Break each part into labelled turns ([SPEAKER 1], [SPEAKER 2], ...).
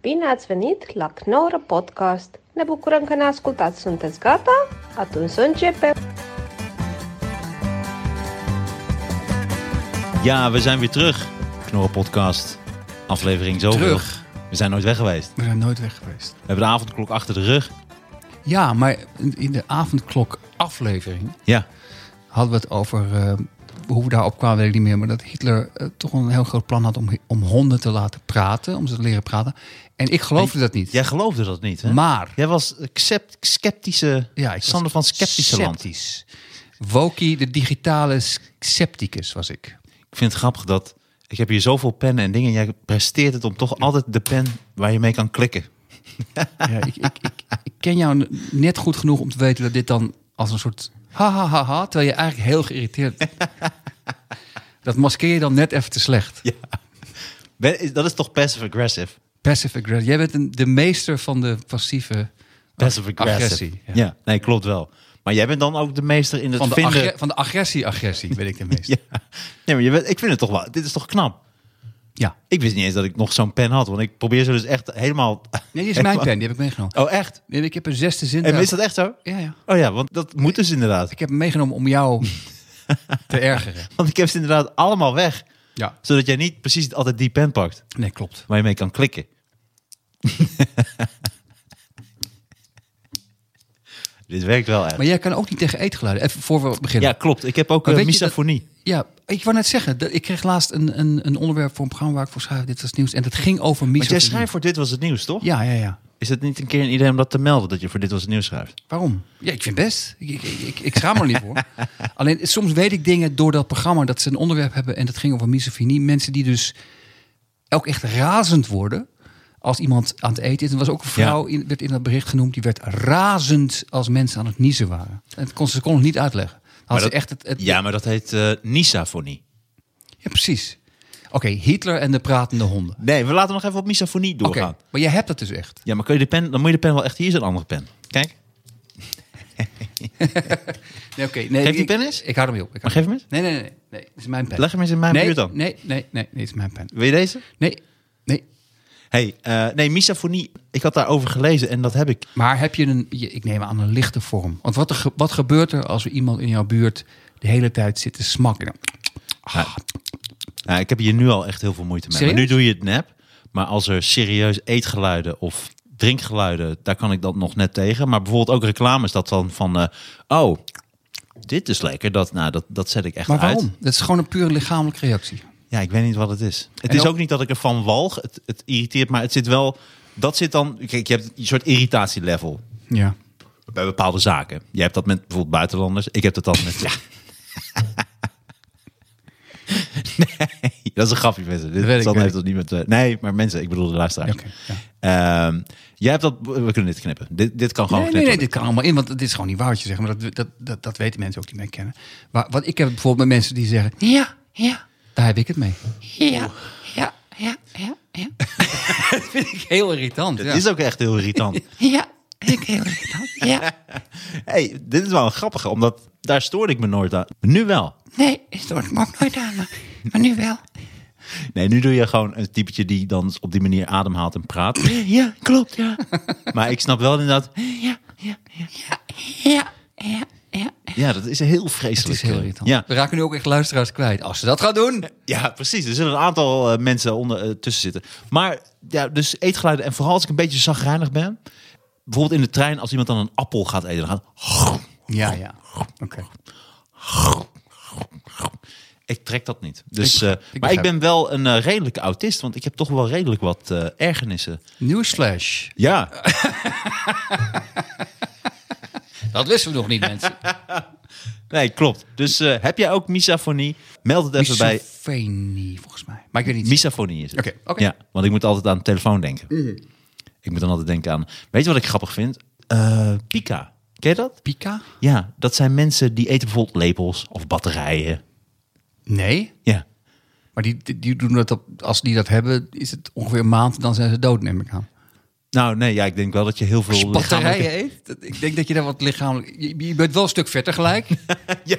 [SPEAKER 1] Bine ați venit la Knorr Podcast! Ne bucurăm că ne ascultați! Sunteți gata? Atunci să începem!
[SPEAKER 2] Ja, we zijn weer terug. Knorren Podcast, aflevering zoveel.
[SPEAKER 3] Terug.
[SPEAKER 2] We zijn nooit weg geweest.
[SPEAKER 3] We zijn nooit weg geweest.
[SPEAKER 2] We hebben de avondklok achter de rug.
[SPEAKER 3] Ja, maar in de avondklok aflevering
[SPEAKER 2] Ja,
[SPEAKER 3] hadden we het over eh, hoe we daarop kwamen, weet ik niet meer. Maar dat Hitler eh, toch een heel groot plan had om, om honden te laten praten, om ze te leren praten. En ik geloofde dat niet.
[SPEAKER 2] jij geloofde dat niet, hè?
[SPEAKER 3] Maar
[SPEAKER 2] Jij was accept- sceptische,
[SPEAKER 3] Ja, ik was
[SPEAKER 2] Sander van sceptische land.
[SPEAKER 3] sceptisch. Woki, de digitale scepticus was ik.
[SPEAKER 2] Ik vind het grappig dat, ik heb hier zoveel pennen en dingen. Jij presteert het om toch altijd de pen waar je mee kan klikken.
[SPEAKER 3] Ja, ik, ik, ik, ik ken jou n- net goed genoeg om te weten dat dit dan als een soort ha ha ha ha, terwijl je eigenlijk heel geïrriteerd. Dat maskeer je dan net even te slecht.
[SPEAKER 2] Ben- is- Dat is toch passive aggressive?
[SPEAKER 3] Passive aggressive. Jij bent een- de meester van de passieve
[SPEAKER 2] Passive aggressive.
[SPEAKER 3] agressie.
[SPEAKER 2] Ja. nee, klopt wel. Maar jij bent dan ook de meester in het
[SPEAKER 3] Van de,
[SPEAKER 2] vinden...
[SPEAKER 3] agre- van de agressie-agressie ben ik de meester.
[SPEAKER 2] ja. Nee, maar je bent- ik vind het toch wel... Dit is toch knap?
[SPEAKER 3] Ja.
[SPEAKER 2] Ik wist niet eens dat ik nog zo'n pen had, want ik probeer ze dus echt helemaal.
[SPEAKER 3] Nee, dit is mijn pen, die heb ik meegenomen.
[SPEAKER 2] Oh, echt?
[SPEAKER 3] Nee, ik heb een zesde zin.
[SPEAKER 2] En is dat echt zo?
[SPEAKER 3] Ja, ja.
[SPEAKER 2] Oh ja, want dat moet dus inderdaad.
[SPEAKER 3] Ik heb hem meegenomen om jou te ergeren.
[SPEAKER 2] Want ik heb ze inderdaad allemaal weg,
[SPEAKER 3] Ja.
[SPEAKER 2] zodat jij niet precies altijd die pen pakt
[SPEAKER 3] Nee, klopt.
[SPEAKER 2] waar je mee kan klikken. Dit werkt wel echt.
[SPEAKER 3] Maar jij kan ook niet tegen eetgeluiden. Even voor we beginnen.
[SPEAKER 2] Ja, klopt. Ik heb ook
[SPEAKER 3] Maar
[SPEAKER 2] een
[SPEAKER 3] weet je dat-
[SPEAKER 2] misofonie.
[SPEAKER 3] Ja, ik wou net zeggen, dat- ik kreeg laatst een, een, een onderwerp voor een programma waar ik voor schrijf. Dit was nieuws. En dat ging over
[SPEAKER 2] Want jij
[SPEAKER 3] misofonie.
[SPEAKER 2] schrijft voor Dit Was Het Nieuws, toch?
[SPEAKER 3] Ja, ja, ja.
[SPEAKER 2] Is het niet een keer een idee om dat te melden, dat je voor Dit Was Het Nieuws schrijft?
[SPEAKER 3] Waarom? Ja, ik vind best. Ik, ik, ik, ik, ik schaam er niet voor. Alleen soms weet ik dingen door dat programma dat ze een onderwerp hebben en dat ging over misofonie. Mensen die dus ook echt razend worden als iemand aan het eten is. Er was ook een vrouw, in, werd in dat bericht genoemd, die werd razend als mensen aan het niezen waren. En het kon, ze kon het niet uitleggen. Had
[SPEAKER 2] Maar
[SPEAKER 3] ze
[SPEAKER 2] dat-
[SPEAKER 3] echt het, het-
[SPEAKER 2] Ja, maar dat heet eh misafonie.
[SPEAKER 3] Ja, precies. Oké, Hitler en de pratende honden.
[SPEAKER 2] Nee, we laten nog even op misafonie
[SPEAKER 3] Oké,
[SPEAKER 2] doorgaan.
[SPEAKER 3] maar jij hebt dat dus echt.
[SPEAKER 2] Ja, maar kun je de pen, dan moet je de pen wel echt... Hier is een andere pen. Kijk.
[SPEAKER 3] Nee, oké. nee,
[SPEAKER 2] Geef die
[SPEAKER 3] ik-
[SPEAKER 2] pen eens.
[SPEAKER 3] Ik hou hem op. Ik
[SPEAKER 2] Maar geef
[SPEAKER 3] hou
[SPEAKER 2] hem eens.
[SPEAKER 3] Nee, nee, nee, nee. nee. Dit is mijn pen.
[SPEAKER 2] Leg hem eens in mijn
[SPEAKER 3] nee,
[SPEAKER 2] buurt dan.
[SPEAKER 3] Nee, nee, nee. Dit is mijn pen.
[SPEAKER 2] Wil je deze?
[SPEAKER 3] Nee, nee.
[SPEAKER 2] Hey, eh, nee, misafonie. Ik had daarover gelezen en dat heb ik.
[SPEAKER 3] Maar heb je een, je- ik neem aan, een lichte vorm? Want wat, er, ge- wat gebeurt er als er iemand in jouw buurt de hele tijd zit te smakken? Dan-
[SPEAKER 2] Ah. Nou, ik heb hier nu al echt heel veel moeite mee. Maar nu
[SPEAKER 3] Serieus?
[SPEAKER 2] doe je het nep. Maar als er serieus eetgeluiden of drinkgeluiden, daar kan ik dat nog net tegen. Maar bijvoorbeeld ook reclames, dat dan van, eh, oh, dit is lekker. Dat, nou, dat, dat zet ik echt
[SPEAKER 3] Maar waarom?
[SPEAKER 2] uit.
[SPEAKER 3] Dat is gewoon een pure lichamelijke reactie.
[SPEAKER 2] Ja, ik weet niet wat het is. Het
[SPEAKER 3] En
[SPEAKER 2] is
[SPEAKER 3] ook-
[SPEAKER 2] ook niet dat ik ervan walg. Het, het irriteert, maar het zit wel. Dat zit dan. Kijk, je hebt een soort irritatielevel.
[SPEAKER 3] Ja.
[SPEAKER 2] bij bepaalde zaken. Je hebt dat met bijvoorbeeld buitenlanders. Ik heb dat dan met. Ja. nee, dat is een grapje, mensen. Dit
[SPEAKER 3] Dat weet ik,
[SPEAKER 2] Sander
[SPEAKER 3] weet
[SPEAKER 2] heeft dat niet met. eh, nee, maar mensen, ik bedoel de luisteraars.
[SPEAKER 3] Oké, ja.
[SPEAKER 2] Ehm, jij hebt dat. We kunnen dit knippen. Dit, dit kan gewoon
[SPEAKER 3] Nee, nee,
[SPEAKER 2] knippen.
[SPEAKER 3] nee, dit kan allemaal in, want dit is gewoon niet waar wat je zegt. Maar dat, dat, dat, dat weten mensen ook die mij kennen. Maar wat ik heb bijvoorbeeld met mensen die zeggen, ja, ja, daar heb ik het mee. Ja, ja, ja, ja, ja. dat vind ik heel irritant.
[SPEAKER 2] Dit
[SPEAKER 3] ja.
[SPEAKER 2] is ook echt heel irritant.
[SPEAKER 3] Ja, ik heel irritant. Ja,
[SPEAKER 2] hey, dit is wel een grappige, omdat daar stoorde ik me nooit aan. Nu wel.
[SPEAKER 3] nee, het wordt me ook nooit aan, maar, maar nu wel.
[SPEAKER 2] Nee, nu doe je gewoon een typetje die dan op die manier ademhaalt en praat.
[SPEAKER 3] Ja, klopt, ja.
[SPEAKER 2] maar ik snap wel inderdaad.
[SPEAKER 3] Ja, ja, ja. Ja, ja, ja.
[SPEAKER 2] Ja, dat is heel vreselijk.
[SPEAKER 3] Het is heel irritant.
[SPEAKER 2] Ja,
[SPEAKER 3] We raken nu ook echt luisteraars kwijt. Als ze dat gaan doen.
[SPEAKER 2] Ja, precies. Er zullen een aantal eh, mensen onder, eh, tussen zitten. Maar ja, dus eetgeluiden. En vooral als ik een beetje zagrijnig ben. Bijvoorbeeld in de trein, als iemand dan een appel gaat eten. Dan gaat,
[SPEAKER 3] Ja, ja. Oké.
[SPEAKER 2] ik trek dat niet. Dus, eh,
[SPEAKER 3] ik
[SPEAKER 2] maar ik
[SPEAKER 3] begrijp.
[SPEAKER 2] ben wel een eh, redelijke autist. Want ik heb toch wel redelijk wat eh, ergernissen.
[SPEAKER 3] Nieuwsflash.
[SPEAKER 2] Ja,
[SPEAKER 3] Dat wisten we nog niet, mensen.
[SPEAKER 2] nee, klopt. Dus eh, heb jij ook misafonie? Meld het even bij...
[SPEAKER 3] Misophenie, volgens mij. Maar ik weet niet.
[SPEAKER 2] Misafonie is het.
[SPEAKER 3] Oké, Mhm. oké.
[SPEAKER 2] Ja, want ik moet altijd aan de telefoon denken. Ik moet dan altijd denken aan... Weet je wat ik grappig vind? Eh, Pika. Ken je dat?
[SPEAKER 3] Pika?
[SPEAKER 2] Ja, dat zijn mensen die eten bijvoorbeeld lepels of batterijen.
[SPEAKER 3] Nee.
[SPEAKER 2] Ja.
[SPEAKER 3] Maar die, die, die doen dat op, als die dat hebben, is het ongeveer een maand. Dan zijn ze dood, neem ik aan.
[SPEAKER 2] Nou, nee, ja, ik denk wel dat je heel
[SPEAKER 3] Als
[SPEAKER 2] veel
[SPEAKER 3] je batterijen
[SPEAKER 2] lichamelijke...
[SPEAKER 3] eet, dat- ik denk dat je daar wat lichamelijk... Je, je bent wel een stuk vetter gelijk.
[SPEAKER 2] Ja.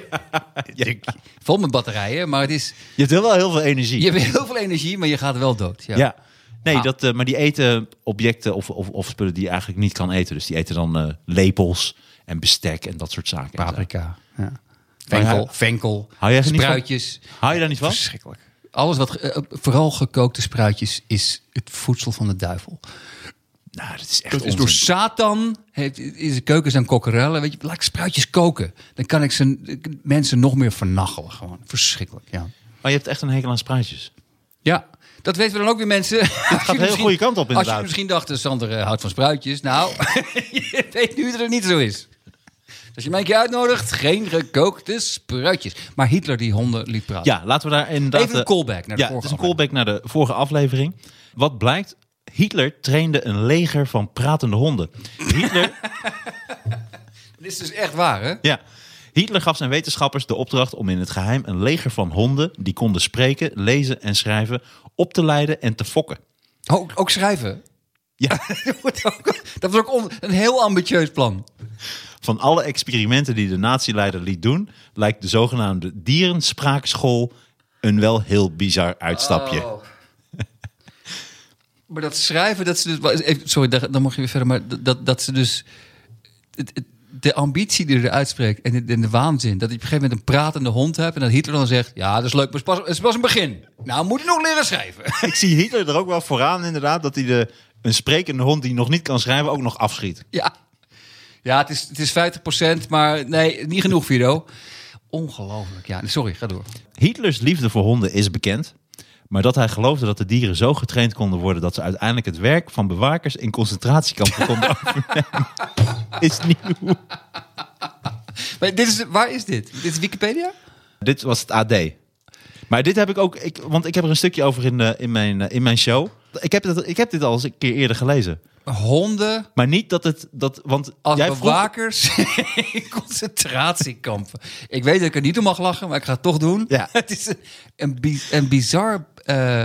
[SPEAKER 3] Vol met batterijen, maar het is...
[SPEAKER 2] Je hebt wel heel veel energie.
[SPEAKER 3] Je hebt heel veel energie, maar je gaat wel dood. Ja.
[SPEAKER 2] Ja. Nee,
[SPEAKER 3] Ah.
[SPEAKER 2] dat, eh, maar die eten objecten of, of, of spullen die je eigenlijk niet kan eten. Dus die eten dan eh, lepels en bestek en dat soort zaken.
[SPEAKER 3] Paprika. Ja.
[SPEAKER 2] Maar
[SPEAKER 3] Venkel,
[SPEAKER 2] hou-
[SPEAKER 3] venkel,
[SPEAKER 2] hou jij ze niet van?
[SPEAKER 3] spruitjes.
[SPEAKER 2] Hou je daar niet van?
[SPEAKER 3] Verschrikkelijk. Alles wat, ge- eh, vooral gekookte spruitjes, is het voedsel van de duivel.
[SPEAKER 2] Nou, dat is echt
[SPEAKER 3] Dat is
[SPEAKER 2] onzin.
[SPEAKER 3] door Satan. Heeft, is de keuken zijn kokkerellen. Weet je, laat ik spruitjes koken. Dan kan ik ze, mensen nog meer vernachelen. Gewoon verschrikkelijk. Ja.
[SPEAKER 2] Maar Oh, je hebt echt een hekel aan spruitjes.
[SPEAKER 3] ja, dat weten we dan ook weer mensen. Het gaat
[SPEAKER 2] heel goede kant op,
[SPEAKER 3] Als
[SPEAKER 2] inderdaad.
[SPEAKER 3] je misschien dacht, eh, Sander eh, houdt van spruitjes. Nou, je weet nu dat het niet zo is. Als je mij een keer uitnodigt, geen gekookte spruitjes. Maar Hitler die honden liet praten.
[SPEAKER 2] Ja, laten we daar inderdaad...
[SPEAKER 3] Even een
[SPEAKER 2] eh,
[SPEAKER 3] callback naar de
[SPEAKER 2] ja,
[SPEAKER 3] vorige
[SPEAKER 2] het is een callback naar de vorige aflevering. Wat blijkt, Hitler trainde een leger van pratende honden. Hitler
[SPEAKER 3] Dit is dus echt waar, hè?
[SPEAKER 2] Ja. Hitler gaf zijn wetenschappers de opdracht om in het geheim een leger van honden die konden spreken, lezen en schrijven op te leiden en te fokken.
[SPEAKER 3] Ook, ook schrijven.
[SPEAKER 2] Ja,
[SPEAKER 3] Dat wordt ook- dat was ook on- een heel ambitieus plan.
[SPEAKER 2] van alle experimenten die de natieleider liet doen, lijkt de zogenaamde dierenspraakschool een wel heel bizar uitstapje.
[SPEAKER 3] Oh. maar dat schrijven, dat ze dus. wa- even- Sorry, daar- dan mag je weer verder. Maar dat- dat, dat ze dus. het- het- de ambitie die er uitspreekt en de, en de waanzin. Dat je op een gegeven moment een pratende hond hebt. En dat Hitler dan zegt: Ja, dat is leuk, maar het is pas, het is pas een begin. Nou, moet ik nog leren schrijven.
[SPEAKER 2] Ik zie Hitler er ook wel vooraan inderdaad dat hij de, een sprekende hond die nog niet kan schrijven ook nog afschiet.
[SPEAKER 3] ja, ja het, is, het is 50%, maar nee, niet genoeg, Viro. Ongelooflijk. Ja, sorry, ga door.
[SPEAKER 2] Hitlers liefde voor honden is bekend. Maar dat hij geloofde dat de dieren zo getraind konden worden dat ze uiteindelijk het werk van bewakers in concentratiekampen konden overnemen, is nieuw.
[SPEAKER 3] Maar dit is, waar is dit? Dit is Wikipedia?
[SPEAKER 2] Dit was het AD. Maar dit heb ik ook, ik, want ik heb er een stukje over in, eh, in, mijn, eh, in mijn show. Ik heb, dit, ik heb dit al eens een keer eerder gelezen.
[SPEAKER 3] Honden.
[SPEAKER 2] Maar niet dat het, dat, want
[SPEAKER 3] Als
[SPEAKER 2] jij vroeg,
[SPEAKER 3] bewakers in concentratiekampen. Ik weet dat ik er niet om mag lachen, maar ik ga het toch doen.
[SPEAKER 2] Ja.
[SPEAKER 3] Het is een, een, bi- een bizar eh,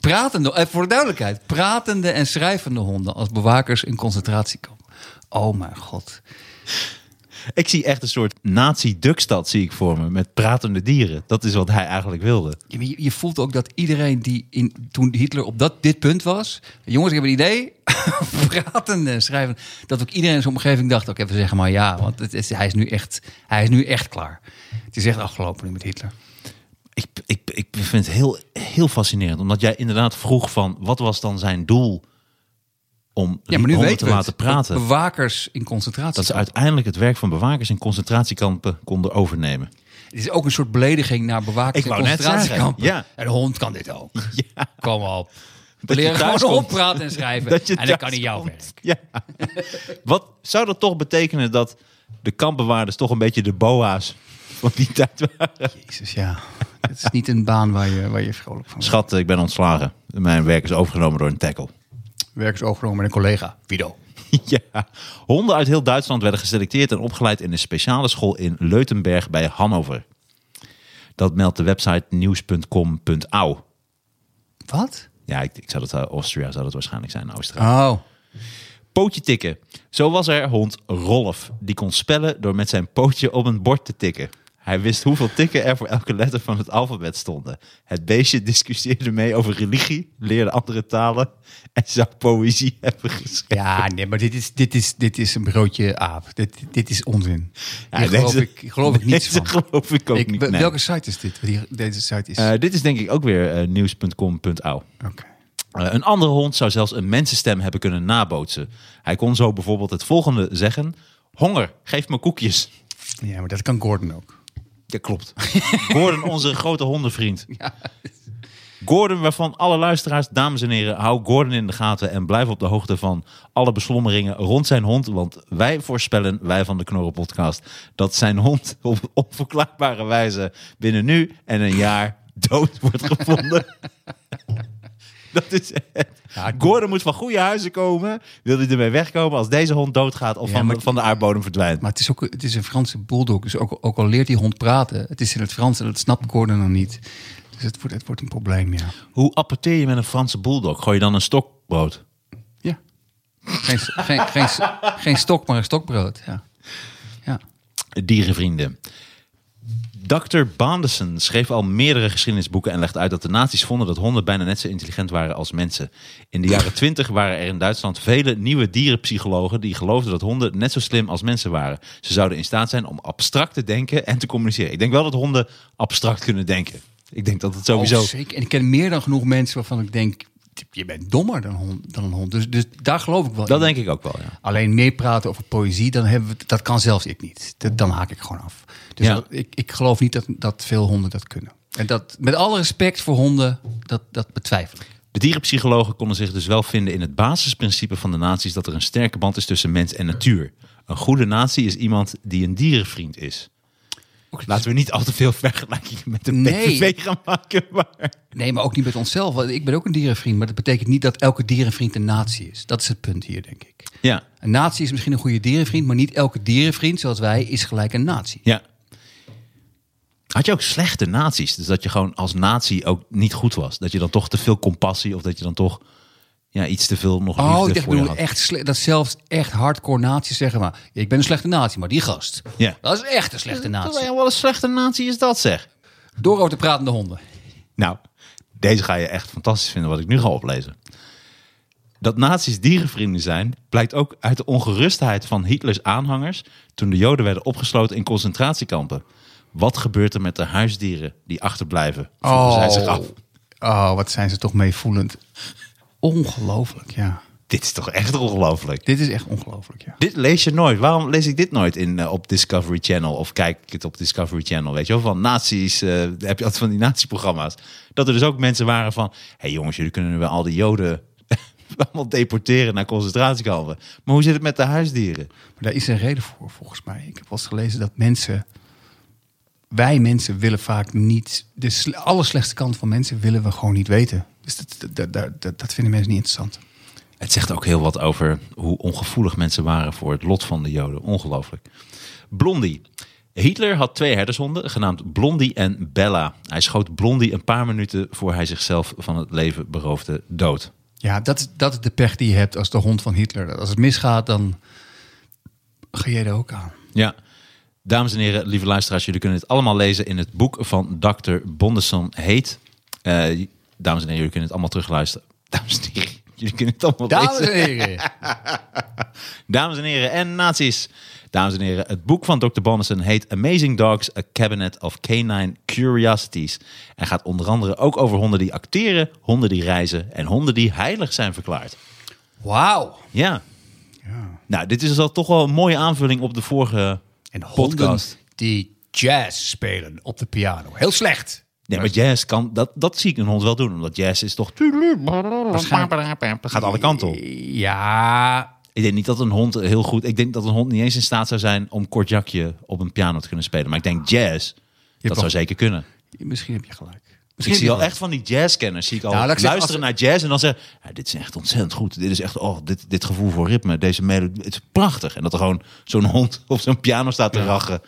[SPEAKER 3] pratende, eh, voor de duidelijkheid, pratende en schrijvende honden als bewakers in concentratiekampen. Oh mijn god.
[SPEAKER 2] ik zie echt een soort nazi-dukstad zie ik voor me, met pratende dieren. Dat is wat hij eigenlijk wilde.
[SPEAKER 3] Je, je- je voelt ook dat iedereen die in, toen Hitler op dat, dit punt was. Jongens, ik heb een idee. Praten en schrijven. Dat ook iedereen in zijn omgeving dacht: oké, we zeggen maar ja. Want het is, hij, is nu echt, hij is nu echt klaar. Het is echt afgelopen nu met Hitler.
[SPEAKER 2] Ik, ik, ik vind het heel, heel fascinerend. Omdat jij inderdaad vroeg van... wat was dan zijn doel om
[SPEAKER 3] Ja,
[SPEAKER 2] die
[SPEAKER 3] maar nu
[SPEAKER 2] honden
[SPEAKER 3] weten
[SPEAKER 2] te
[SPEAKER 3] we
[SPEAKER 2] laten
[SPEAKER 3] het.
[SPEAKER 2] praten?
[SPEAKER 3] Bewakers in concentratie.
[SPEAKER 2] Dat ze uiteindelijk het werk van bewakers in concentratiekampen konden overnemen.
[SPEAKER 3] Het is ook een soort belediging naar bewakers
[SPEAKER 2] Ik
[SPEAKER 3] in
[SPEAKER 2] wou net
[SPEAKER 3] concentratiekampen.
[SPEAKER 2] zeggen,
[SPEAKER 3] Een hond kan dit ook.
[SPEAKER 2] Ja.
[SPEAKER 3] Kom op. We
[SPEAKER 2] Dat je
[SPEAKER 3] leren gewoon
[SPEAKER 2] thuis
[SPEAKER 3] hond
[SPEAKER 2] komt.
[SPEAKER 3] praten en schrijven.
[SPEAKER 2] Dat je
[SPEAKER 3] en dan
[SPEAKER 2] thuis
[SPEAKER 3] kan hij jouw
[SPEAKER 2] komt.
[SPEAKER 3] werk.
[SPEAKER 2] Ja. Wat zou dat toch betekenen dat de kampbewaarders... toch een beetje de boa's van die tijd waren?
[SPEAKER 3] Jezus, ja. Het is niet een baan waar je, waar je vrolijk van wordt.
[SPEAKER 2] Schat, ik ben ontslagen. Mijn werk is overgenomen door een tackle.
[SPEAKER 3] Werk is overgenomen met een collega, Vido.
[SPEAKER 2] Ja, honden uit heel Duitsland werden geselecteerd en opgeleid in een speciale school in Leutenberg bij Hannover. Dat meldt de website nieuws.com.au.
[SPEAKER 3] Wat?
[SPEAKER 2] Ja, ik, ik zou dat eh, Austria zou dat waarschijnlijk zijn, Oostenrijk.
[SPEAKER 3] Oh.
[SPEAKER 2] Pootje tikken. Zo was er hond Rolf, die kon spellen door met zijn pootje op een bord te tikken. Hij wist hoeveel tikken er voor elke letter van het alfabet stonden. Het beestje discussieerde mee over religie, leerde andere talen en zou poëzie hebben geschreven.
[SPEAKER 3] Ja, nee, maar dit is, dit is, dit is een broodje aap. Dit, dit is onzin.
[SPEAKER 2] Ja,
[SPEAKER 3] Hier geloof,
[SPEAKER 2] deze-
[SPEAKER 3] ik, hier geloof ik niets
[SPEAKER 2] deze
[SPEAKER 3] van.
[SPEAKER 2] geloof ik ook
[SPEAKER 3] Ik-
[SPEAKER 2] niet.
[SPEAKER 3] wel-
[SPEAKER 2] nee.
[SPEAKER 3] Welke site is dit? Die- Deze site is...
[SPEAKER 2] Eh, dit is denk ik ook weer eh, nieuws.com.au.
[SPEAKER 3] Oké.
[SPEAKER 2] Eh, een andere hond zou zelfs een mensenstem hebben kunnen nabootsen. Hij kon zo bijvoorbeeld het volgende zeggen: Honger, geef me koekjes.
[SPEAKER 3] Ja, maar dat kan Gordon ook.
[SPEAKER 2] Dat klopt. Gordon, onze grote hondenvriend. Gordon, waarvan alle luisteraars, dames en heren, hou Gordon in de gaten en blijf op de hoogte van alle beslommeringen rond zijn hond. Want wij voorspellen, wij van de Knorren Podcast, dat zijn hond op onverklaarbare wijze binnen nu en een jaar dood wordt gevonden. Dat is het. Gordon moet van goede huizen komen. Wil hij ermee wegkomen als deze hond doodgaat of
[SPEAKER 3] Ja,
[SPEAKER 2] van,
[SPEAKER 3] maar-
[SPEAKER 2] van de aardbodem verdwijnt?
[SPEAKER 3] Maar het is ook het is een Franse bulldog. Dus ook, ook al leert die hond praten, het is in het Frans en dat snapt Gordon dan niet. Dus het wordt, het wordt een probleem, ja.
[SPEAKER 2] Hoe apporteer je met een Franse bulldog? Gooi je dan een stokbrood?
[SPEAKER 3] Ja. Geen, geen, geen, geen stok, maar een stokbrood. Ja. ja.
[SPEAKER 2] dierenvrienden. Dr. Baandersen schreef al meerdere geschiedenisboeken en legt uit dat de nazi's vonden dat honden bijna net zo intelligent waren als mensen. In de jaren twintig waren er in Duitsland vele nieuwe dierenpsychologen die geloofden dat honden net zo slim als mensen waren. Ze zouden in staat zijn om abstract te denken en te communiceren. Ik denk wel dat honden abstract kunnen denken. Ik denk dat het sowieso...
[SPEAKER 3] Oh, zeker. En ik ken meer dan genoeg mensen waarvan ik denk, je bent dommer dan, hond- dan een hond. Dus, dus daar geloof ik wel
[SPEAKER 2] dat
[SPEAKER 3] in.
[SPEAKER 2] denk ik ook wel, ja.
[SPEAKER 3] Alleen meepraten over poëzie, dan hebben we, dat kan zelfs ik niet. Dat, dan haak ik gewoon af. Dus
[SPEAKER 2] Ja.
[SPEAKER 3] dat- ik, ik geloof niet dat, dat veel honden dat kunnen. En dat, met alle respect voor honden, dat, dat betwijfel ik.
[SPEAKER 2] De dierenpsychologen konden zich dus wel vinden in het basisprincipe van de naties dat er een sterke band is tussen mens en natuur. Een goede natie is iemand die een dierenvriend is. Laten we niet al te veel vergelijkingen met de
[SPEAKER 3] Nee.
[SPEAKER 2] PVV gaan maken. Maar...
[SPEAKER 3] Nee, maar ook niet met onszelf. Want ik ben ook een dierenvriend, maar dat betekent niet dat elke dierenvriend een natie is. Dat is het punt hier, denk ik.
[SPEAKER 2] Ja,
[SPEAKER 3] Een natie is misschien een goede dierenvriend, maar niet elke dierenvriend zoals wij is gelijk een natie.
[SPEAKER 2] ja. Had je ook slechte naties? Dus dat je gewoon als natie ook niet goed was. Dat je dan toch te veel compassie of dat je dan toch ja, iets te veel nog liefde
[SPEAKER 3] Oh, ik dacht, ik
[SPEAKER 2] voor je
[SPEAKER 3] bedoel
[SPEAKER 2] had.
[SPEAKER 3] echt sle- dat zelfs echt hardcore naties zeggen maar. Ik ben een slechte natie, maar die gast.
[SPEAKER 2] Ja.
[SPEAKER 3] Dat is echt een slechte natie.
[SPEAKER 2] Wel een slechte natie is dat zeg.
[SPEAKER 3] Door te pratende honden.
[SPEAKER 2] Nou, deze ga je echt fantastisch vinden wat ik nu ga oplezen. Dat nazi's dierenvrienden zijn blijkt ook uit de ongerustheid van Hitlers aanhangers toen de Joden werden opgesloten in concentratiekampen. Wat gebeurt er met de huisdieren die achterblijven? Vroegen zij zich af.
[SPEAKER 3] oh, wat zijn ze toch meevoelend. Ongelooflijk, ja.
[SPEAKER 2] Dit is toch echt ongelooflijk?
[SPEAKER 3] Dit is echt ongelooflijk, ja.
[SPEAKER 2] Dit lees je nooit. Waarom lees ik dit nooit in, eh, op Discovery Channel? Of kijk ik het op Discovery Channel? Weet je wel, van nazi's. eh, heb je altijd van die natieprogramma's. Dat er dus ook mensen waren van... Hé hey jongens, jullie kunnen nu wel al die joden... allemaal deporteren naar concentratiekampen. Maar hoe zit het met de huisdieren?
[SPEAKER 3] Maar daar is een reden voor, volgens mij. Ik heb wel eens gelezen dat mensen... Wij mensen willen vaak niet... De sle- allerslechtste kant van mensen willen we gewoon niet weten. Dus dat, dat, dat, dat, dat vinden mensen niet interessant.
[SPEAKER 2] Het zegt ook heel wat over hoe ongevoelig mensen waren voor het lot van de Joden. Ongelooflijk. Blondie. Hitler had twee herdershonden, genaamd Blondie en Bella. Hij schoot Blondie een paar minuten voor hij zichzelf van het leven beroofde dood.
[SPEAKER 3] Ja, dat, is- dat is de pech die je hebt als de hond van Hitler. Als het misgaat, dan ga jij er ook aan.
[SPEAKER 2] Ja. Dames en heren, lieve luisteraars, jullie kunnen dit allemaal lezen in het boek van Dr. Bonderson Heet. Eh, dames en heren, jullie kunnen het allemaal terugluisteren. Dames en heren, jullie kunnen het allemaal
[SPEAKER 3] Dames
[SPEAKER 2] lezen.
[SPEAKER 3] en heren.
[SPEAKER 2] Dames en heren en nazi's. Dames en heren, het boek van Dr. Bonderson heet Amazing Dogs, A Cabinet of Canine Curiosities. En gaat onder andere ook over honden die acteren, honden die reizen en honden die heilig zijn verklaard.
[SPEAKER 3] Wauw.
[SPEAKER 2] Ja. Nou, dit is dus al toch wel een mooie aanvulling op de vorige
[SPEAKER 3] En honden
[SPEAKER 2] podcast.
[SPEAKER 3] die jazz spelen op de piano. Heel slecht.
[SPEAKER 2] Nee, maar jazz kan, dat, dat zie ik een hond wel doen. Omdat jazz is toch, gaat alle kanten op.
[SPEAKER 3] Ja,
[SPEAKER 2] Ik denk niet dat een hond heel goed, ik denk dat een hond niet eens in staat zou zijn om kort jakje op een piano te kunnen spelen. Maar ik denk jazz, dat
[SPEAKER 3] wel-
[SPEAKER 2] zou zeker kunnen. Dus
[SPEAKER 3] misschien heb je gelijk.
[SPEAKER 2] ik zie al echt van die jazzkenners. Zie ik al
[SPEAKER 3] Nou, laat ik zeggen,
[SPEAKER 2] luisteren naar jazz en dan zeggen... "Ja, dit is echt ontzettend goed. Dit is echt, oh, dit, dit gevoel voor ritme. Deze melodie, het is prachtig. En dat er gewoon zo'n hond op zo'n piano staat te rachen.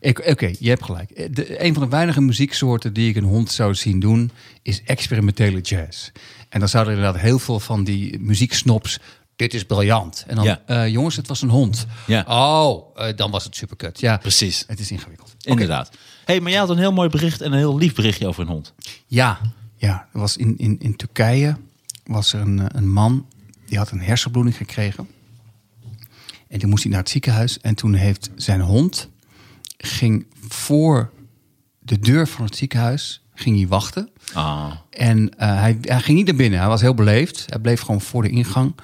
[SPEAKER 3] Ik- Oké, je hebt gelijk. Eh, De, een van de weinige muzieksoorten die ik een hond zou zien doen, is experimentele jazz. En dan zouden er inderdaad heel veel van die muzieksnops. Dit is briljant. En dan,
[SPEAKER 2] Ja.
[SPEAKER 3] eh, jongens, het was een hond.
[SPEAKER 2] Ja.
[SPEAKER 3] Oh, eh, dan was het superkut. Ja,
[SPEAKER 2] Precies.
[SPEAKER 3] Het is ingewikkeld. Oké.
[SPEAKER 2] Inderdaad. hey, maar jij had een heel mooi bericht en een heel lief berichtje over een hond.
[SPEAKER 3] Ja, ja. Er was in, in, in Turkije was er een, eh, een man die had een hersenbloeding gekregen. En toen moest hij naar het ziekenhuis. En toen heeft zijn hond ging voor de deur van het ziekenhuis ging hij wachten.
[SPEAKER 2] Ah,
[SPEAKER 3] En eh, hij, hij ging niet naar binnen. Hij was heel beleefd. Hij bleef gewoon voor de ingang.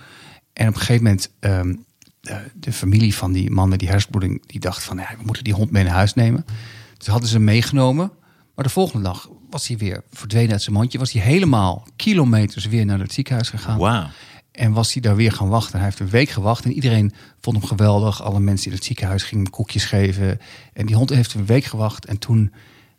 [SPEAKER 3] En op een gegeven moment, ehm, de, de familie van die man met die hersenbloeding, die dacht van, ja, we moeten die hond mee naar huis nemen. Dus hadden ze hem meegenomen. Maar de volgende dag was hij weer verdwenen uit zijn mandje. Was hij helemaal kilometers weer naar het ziekenhuis gegaan.
[SPEAKER 2] wauw.
[SPEAKER 3] En was hij daar weer gaan wachten. Hij heeft een week gewacht en iedereen vond hem geweldig. Alle mensen in het ziekenhuis gingen hem koekjes geven. En die hond heeft een week gewacht en toen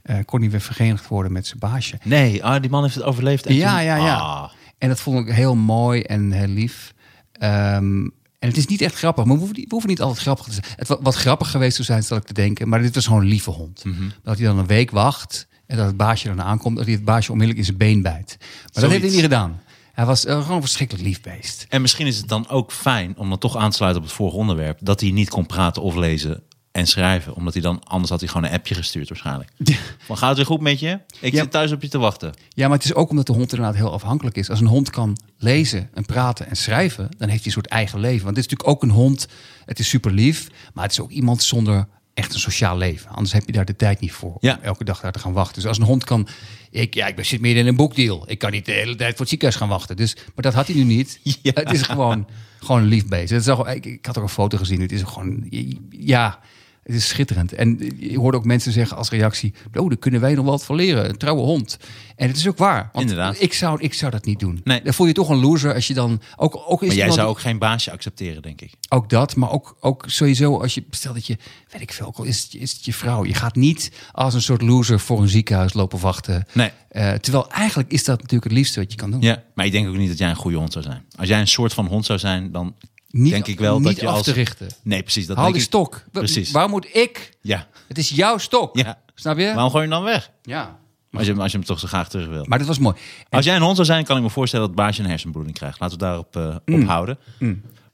[SPEAKER 3] eh, kon hij weer verenigd worden met zijn baasje.
[SPEAKER 2] Nee, ah, die man heeft het overleefd. En
[SPEAKER 3] Ja,
[SPEAKER 2] toen-
[SPEAKER 3] ja, ja.
[SPEAKER 2] Ah.
[SPEAKER 3] En dat vond ik heel mooi en heel lief. Ehm, en het is niet echt grappig, maar we hoeven, niet- we hoeven niet altijd grappig te zijn. Het wa- wat grappig geweest zou zijn, zal ik te denken. Maar dit was gewoon een lieve hond.
[SPEAKER 2] Mhm.
[SPEAKER 3] Dat hij dan een week wacht en dat het baasje dan aankomt. Dat hij het baasje onmiddellijk in zijn been bijt. Maar dat heeft hij
[SPEAKER 2] Zoiets.
[SPEAKER 3] niet gedaan. Hij was eh, gewoon een verschrikkelijk lief beest.
[SPEAKER 2] En misschien is het dan ook fijn om dan toch aan te sluiten op het vorige onderwerp... dat hij niet kon praten of lezen en schrijven. Omdat hij dan, anders had hij gewoon een appje gestuurd waarschijnlijk. Van, gaat het weer goed met je? Ik
[SPEAKER 3] Ja.
[SPEAKER 2] zit thuis op je te wachten.
[SPEAKER 3] Ja, maar het is ook omdat de hond inderdaad heel afhankelijk is. Als een hond kan lezen en praten en schrijven, dan heeft hij een soort eigen leven. Want dit is natuurlijk ook een hond. Het is super lief, maar het is ook iemand zonder echt een sociaal leven. Anders heb je daar de tijd niet voor
[SPEAKER 2] Ja.
[SPEAKER 3] om elke dag daar te gaan wachten. Dus als een hond kan, ik, ja, ik ben- zit meer in een boekdeal. Ik kan niet de hele tijd voor het ziekenhuis gaan wachten. Dus, maar dat had hij nu niet.
[SPEAKER 2] Ja.
[SPEAKER 3] Het is gewoon, gewoon een lief beest. Het is al, ik, ik had ook een foto gezien. Het is gewoon, ja, het is schitterend. En je hoorde ook mensen zeggen als reactie, oh, daar kunnen wij nog wat van leren. Een trouwe hond. En het is ook waar. Want
[SPEAKER 2] Inderdaad.
[SPEAKER 3] Ik zou, ik zou dat niet doen.
[SPEAKER 2] Nee.
[SPEAKER 3] Dan voel je toch een loser als je dan... Ook, ook
[SPEAKER 2] Maar
[SPEAKER 3] is
[SPEAKER 2] jij
[SPEAKER 3] iemand-
[SPEAKER 2] zou ook geen baasje accepteren, denk ik.
[SPEAKER 3] ook dat, maar ook, ook sowieso als je, stel dat je, weet ik veel, ook al is het, je- is het je vrouw. Je gaat niet als een soort loser voor een ziekenhuis lopen wachten.
[SPEAKER 2] Nee.
[SPEAKER 3] Eh, terwijl eigenlijk is dat natuurlijk het liefste wat je kan doen.
[SPEAKER 2] Ja, maar ik denk ook niet dat jij een goede hond zou zijn. Als jij een soort van hond zou zijn, dan
[SPEAKER 3] Niet-
[SPEAKER 2] denk ik wel
[SPEAKER 3] niet
[SPEAKER 2] dat je
[SPEAKER 3] af
[SPEAKER 2] als...
[SPEAKER 3] te richten.
[SPEAKER 2] Nee, precies. Dat
[SPEAKER 3] Haal
[SPEAKER 2] denk
[SPEAKER 3] die
[SPEAKER 2] ik-
[SPEAKER 3] stok. Wa-
[SPEAKER 2] Precies.
[SPEAKER 3] Waar moet ik?
[SPEAKER 2] Ja.
[SPEAKER 3] Het is jouw stok.
[SPEAKER 2] ja.
[SPEAKER 3] Snap je?
[SPEAKER 2] Waarom gooi je hem dan weg?
[SPEAKER 3] ja.
[SPEAKER 2] Als je, als je hem toch zo graag terug wil.
[SPEAKER 3] Maar dat was mooi.
[SPEAKER 2] Als jij een hond zou zijn, kan ik me voorstellen dat het baasje een hersenbloeding krijgt. Laten we daarop eh
[SPEAKER 3] Mm.
[SPEAKER 2] op houden.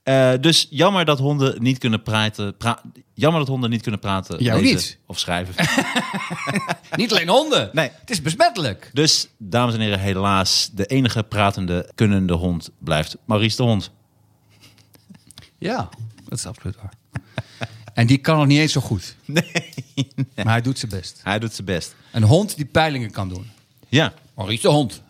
[SPEAKER 2] Eh, dus jammer dat honden niet kunnen praten. pra- jammer dat honden niet kunnen praten,
[SPEAKER 3] Jou
[SPEAKER 2] lezen
[SPEAKER 3] niet.
[SPEAKER 2] of schrijven.
[SPEAKER 3] Niet alleen honden.
[SPEAKER 2] Nee.
[SPEAKER 3] Het is besmettelijk.
[SPEAKER 2] dus dames en heren, helaas de enige pratende kunnende hond blijft Maurice de hond.
[SPEAKER 3] Ja, dat is absoluut waar. en die kan nog niet eens zo goed. Nee. Maar hij doet zijn best.
[SPEAKER 2] Hij doet zijn best.
[SPEAKER 3] Een hond die peilingen kan doen.
[SPEAKER 2] Ja.
[SPEAKER 3] Maurice de Hond.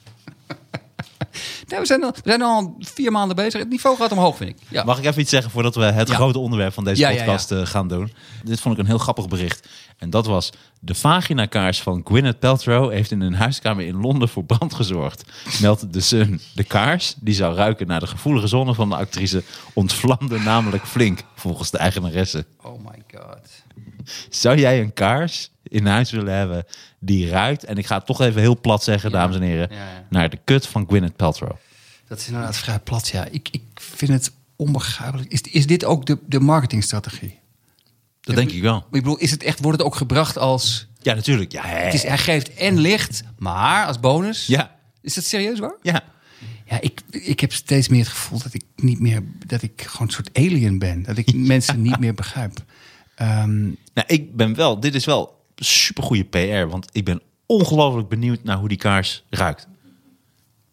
[SPEAKER 3] nee, Nou, we, zijn al, we zijn al vier maanden bezig. Het niveau gaat omhoog, vind ik. Ja.
[SPEAKER 2] Mag ik even iets zeggen voordat we het
[SPEAKER 3] Ja.
[SPEAKER 2] grote onderwerp van deze
[SPEAKER 3] Ja, ja, ja.
[SPEAKER 2] podcast eh, gaan doen? Dit vond ik een heel grappig bericht. En dat was: De vaginakaars van Gwyneth Paltrow heeft in een huiskamer in Londen voor brand gezorgd. Meldt de Sun. De kaars, die zou ruiken naar de gevoelige zone van de actrice, ontvlamde namelijk flink, volgens de eigenaresse.
[SPEAKER 3] Oh my god.
[SPEAKER 2] Zou jij een kaars in huis willen hebben die ruikt? En ik ga het toch even heel plat zeggen, dames en heren:
[SPEAKER 3] Ja, ja.
[SPEAKER 2] naar de kut van Gwyneth Paltrow.
[SPEAKER 3] Dat is inderdaad vrij plat, ja. Ik, ik vind het onbegrijpelijk. Is, is dit ook de, de marketingstrategie?
[SPEAKER 2] Dat denk ik wel.
[SPEAKER 3] Ik bedoel, is het echt, wordt het ook gebracht als...
[SPEAKER 2] Ja, natuurlijk. Ja, hè.
[SPEAKER 3] Het is, hij geeft en licht, maar als bonus...
[SPEAKER 2] Ja.
[SPEAKER 3] Is dat serieus waar?
[SPEAKER 2] ja.
[SPEAKER 3] Ja, ik, ik heb steeds meer het gevoel dat ik niet meer... dat ik gewoon een soort alien ben. Dat ik mensen niet meer begrijp. Ehm,
[SPEAKER 2] Nou, ik ben wel, dit is wel super goede PR, want ik ben ongelooflijk benieuwd naar hoe die kaars ruikt.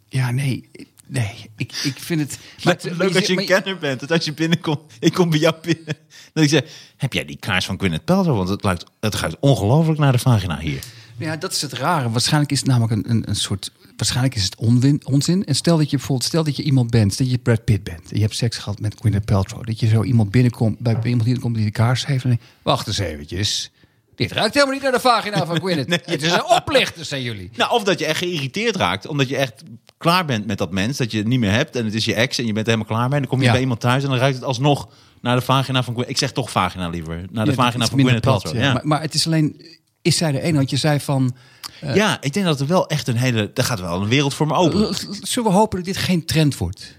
[SPEAKER 3] Ja, nee. Nee, ik, ik vind het...
[SPEAKER 2] Leuk,
[SPEAKER 3] het-
[SPEAKER 2] leuk
[SPEAKER 3] maar
[SPEAKER 2] als je een
[SPEAKER 3] maar
[SPEAKER 2] kenner bent, dat als je binnenkomt, ik kom bij jou binnen, dat ik zeg, heb jij die kaars van Gwyneth Paltrow? Want het, ruikt, het ruikt ongelooflijk naar de vagina hier.
[SPEAKER 3] Ja, dat is het rare. Waarschijnlijk is het namelijk een, een, een soort... Waarschijnlijk is het onwin, onzin. En stel dat je bijvoorbeeld... Stel dat je iemand bent, dat je Brad Pitt bent. En je hebt seks gehad met Gwyneth Paltrow. Dat je zo iemand binnenkomt, bij iemand binnenkomt die de kaars heeft. En dan denk je, wacht eens eventjes. Dit ruikt helemaal niet naar de vagina van Gwyneth. Het is een oplichter, zijn jullie.
[SPEAKER 2] Nou, of dat je echt geïrriteerd raakt, omdat je echt klaar bent met dat mens, dat je het niet meer hebt en het is je ex en je bent er helemaal klaar mee. En dan kom je
[SPEAKER 3] Ja.
[SPEAKER 2] bij iemand thuis en dan ruikt het alsnog naar de vagina van Gwyneth. Ik zeg toch vagina liever, naar de
[SPEAKER 3] Ja,
[SPEAKER 2] vagina
[SPEAKER 3] iets
[SPEAKER 2] van Gwyneth
[SPEAKER 3] minder plat,
[SPEAKER 2] Paltrow.
[SPEAKER 3] ja.
[SPEAKER 2] ja.
[SPEAKER 3] Maar, maar het is alleen... Is zij de ene? Want je zei van... eh,
[SPEAKER 2] ja, ik denk dat er wel echt een hele, daar gaat wel een wereld voor me open.
[SPEAKER 3] L- l- Zullen we hopen dat dit geen trend wordt?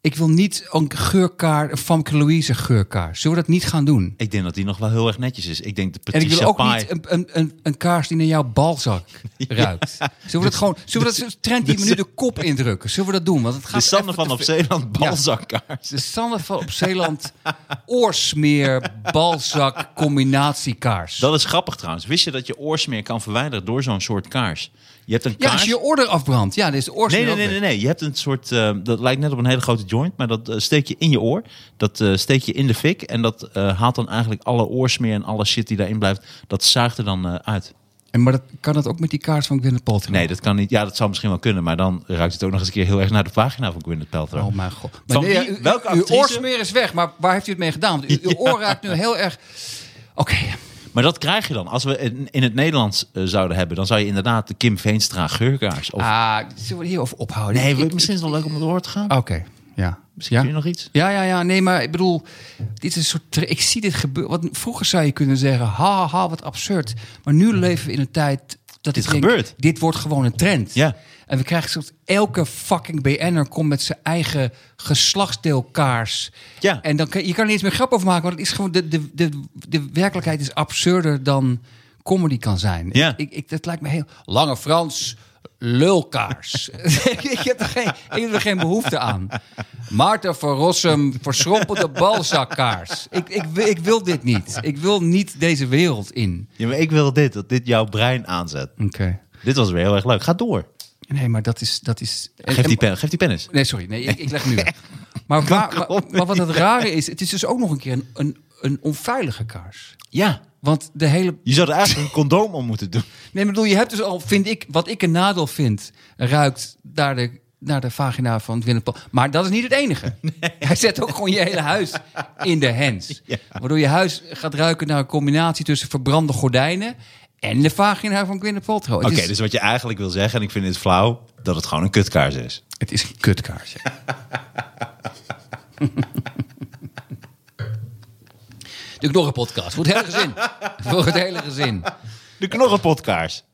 [SPEAKER 3] Ik wil niet een geurkaart, een Famke Louise geurkaart. Zullen we dat niet gaan doen?
[SPEAKER 2] Ik denk dat die nog wel heel erg netjes is. Ik denk de
[SPEAKER 3] En
[SPEAKER 2] Petit
[SPEAKER 3] ik wil ook
[SPEAKER 2] Chapai-
[SPEAKER 3] niet een, een, een, een kaars die naar jouw balzak ruikt. Zullen
[SPEAKER 2] Dus-
[SPEAKER 3] we dat gewoon, zullen we dat trend die we nu de kop indrukken? Zullen we dat doen? Want het gaat
[SPEAKER 2] de Sanne
[SPEAKER 3] even
[SPEAKER 2] van
[SPEAKER 3] te
[SPEAKER 2] op
[SPEAKER 3] ver-
[SPEAKER 2] Zeeland balzakkaars.
[SPEAKER 3] De Sanne van op Zeeland oorsmeer balzak combinatiekaars.
[SPEAKER 2] Dat is grappig trouwens. Wist je dat je oorsmeer kan verwijderen door zo'n soort kaars? Je hebt een
[SPEAKER 3] ja,
[SPEAKER 2] kaars.
[SPEAKER 3] als je je order afbrandt. Ja, dit is de oorsmeer.
[SPEAKER 2] Nee, nee,
[SPEAKER 3] ook
[SPEAKER 2] nee,
[SPEAKER 3] weg.
[SPEAKER 2] nee, nee. Je hebt een soort. eh, dat lijkt net op een hele grote joint, maar dat eh, steek je in je oor. Dat eh, steek je in de fik. En dat eh, haalt dan eigenlijk alle oorsmeer en alle shit die daarin blijft. Dat zuigt er dan eh, uit.
[SPEAKER 3] En, maar dat, kan dat ook met die kaars van Gwyneth Paltrow?
[SPEAKER 2] Nee, dat kan niet. Ja, dat zou misschien wel kunnen. Maar dan ruikt het ook nog eens een keer heel erg naar de vagina van Gwyneth Paltrow.
[SPEAKER 3] Oh mijn god. Maar
[SPEAKER 2] Van
[SPEAKER 3] nee, ja,
[SPEAKER 2] wie-
[SPEAKER 3] u-
[SPEAKER 2] welke
[SPEAKER 3] uw
[SPEAKER 2] actrice?
[SPEAKER 3] oorsmeer is weg, maar waar heeft u het mee gedaan? Want u- uw oor raakt nu heel erg... Oké,
[SPEAKER 2] Maar dat krijg je dan. Als we in, in het Nederlands eh, zouden hebben, dan zou je inderdaad de Kim Veenstra geurkaars. Of...
[SPEAKER 3] ah, zullen we hierover ophouden?
[SPEAKER 2] nee, we-
[SPEAKER 3] Ik-
[SPEAKER 2] misschien is het wel leuk om het door te gaan.
[SPEAKER 3] Oké, ja.
[SPEAKER 2] Oh, misschien
[SPEAKER 3] ja?
[SPEAKER 2] kun je nog iets.
[SPEAKER 3] Ja, ja, ja. Nee, maar ik bedoel, dit is een soort. tra- Ik zie dit gebeuren. Wat vroeger zou je kunnen zeggen, ha, ha, ha, wat absurd. Maar nu leven we in een tijd dat
[SPEAKER 2] Dit
[SPEAKER 3] ik denk,
[SPEAKER 2] gebeurt.
[SPEAKER 3] dit wordt gewoon een trend.
[SPEAKER 2] Ja.
[SPEAKER 3] En we krijgen soort elke fucking BN'er komt met zijn eigen geslachtsdeelkaars.
[SPEAKER 2] Ja.
[SPEAKER 3] En dan kan je kan er niet eens meer grap over maken, want het is gewoon de, de, de, de werkelijkheid is absurder dan comedy kan zijn.
[SPEAKER 2] Ja.
[SPEAKER 3] Ik, ik, dat lijkt me heel lange Frans. lulkaars. ik, heb er geen, ik heb er geen behoefte aan. Maarten van Rossum, verschrompelde balzakkaars. Ik, ik, wil- ik wil dit niet. Ik wil niet deze wereld in.
[SPEAKER 2] Ja, maar ik wil dit, dat dit jouw brein aanzet.
[SPEAKER 3] Oké.
[SPEAKER 2] Dit was weer heel erg leuk. Ga door.
[SPEAKER 3] Nee, maar dat is... Dat is
[SPEAKER 2] Geef die pen, geef die pen eens.
[SPEAKER 3] Nee, sorry. Nee, ik, ik leg hem nu weg. Maar, waar- maar, maar wat het rare is, het is dus ook nog een keer een, een, een onveilige kaars.
[SPEAKER 2] Ja.
[SPEAKER 3] Want de hele
[SPEAKER 2] Je zou er eigenlijk een condoom om moeten doen.
[SPEAKER 3] Nee, maar bedoel, je hebt dus al, vind ik, wat ik een nadeel vind, ruikt naar de, naar de vagina van Willem Paul. Maar dat is niet het enige. Hij zet ook gewoon je hele huis in de hens. Waardoor je huis gaat ruiken naar een combinatie tussen verbrande gordijnen en de vagina van Gwyneth Paltrow. Het,
[SPEAKER 2] Oké,
[SPEAKER 3] is,
[SPEAKER 2] dus wat je eigenlijk wil zeggen, en ik vind dit flauw, dat het gewoon een kutkaars is.
[SPEAKER 3] het is een kutkaarsje. De knorrenpodcast. Voor het hele gezin. Voor het hele gezin.
[SPEAKER 2] De knorrenpodkaars.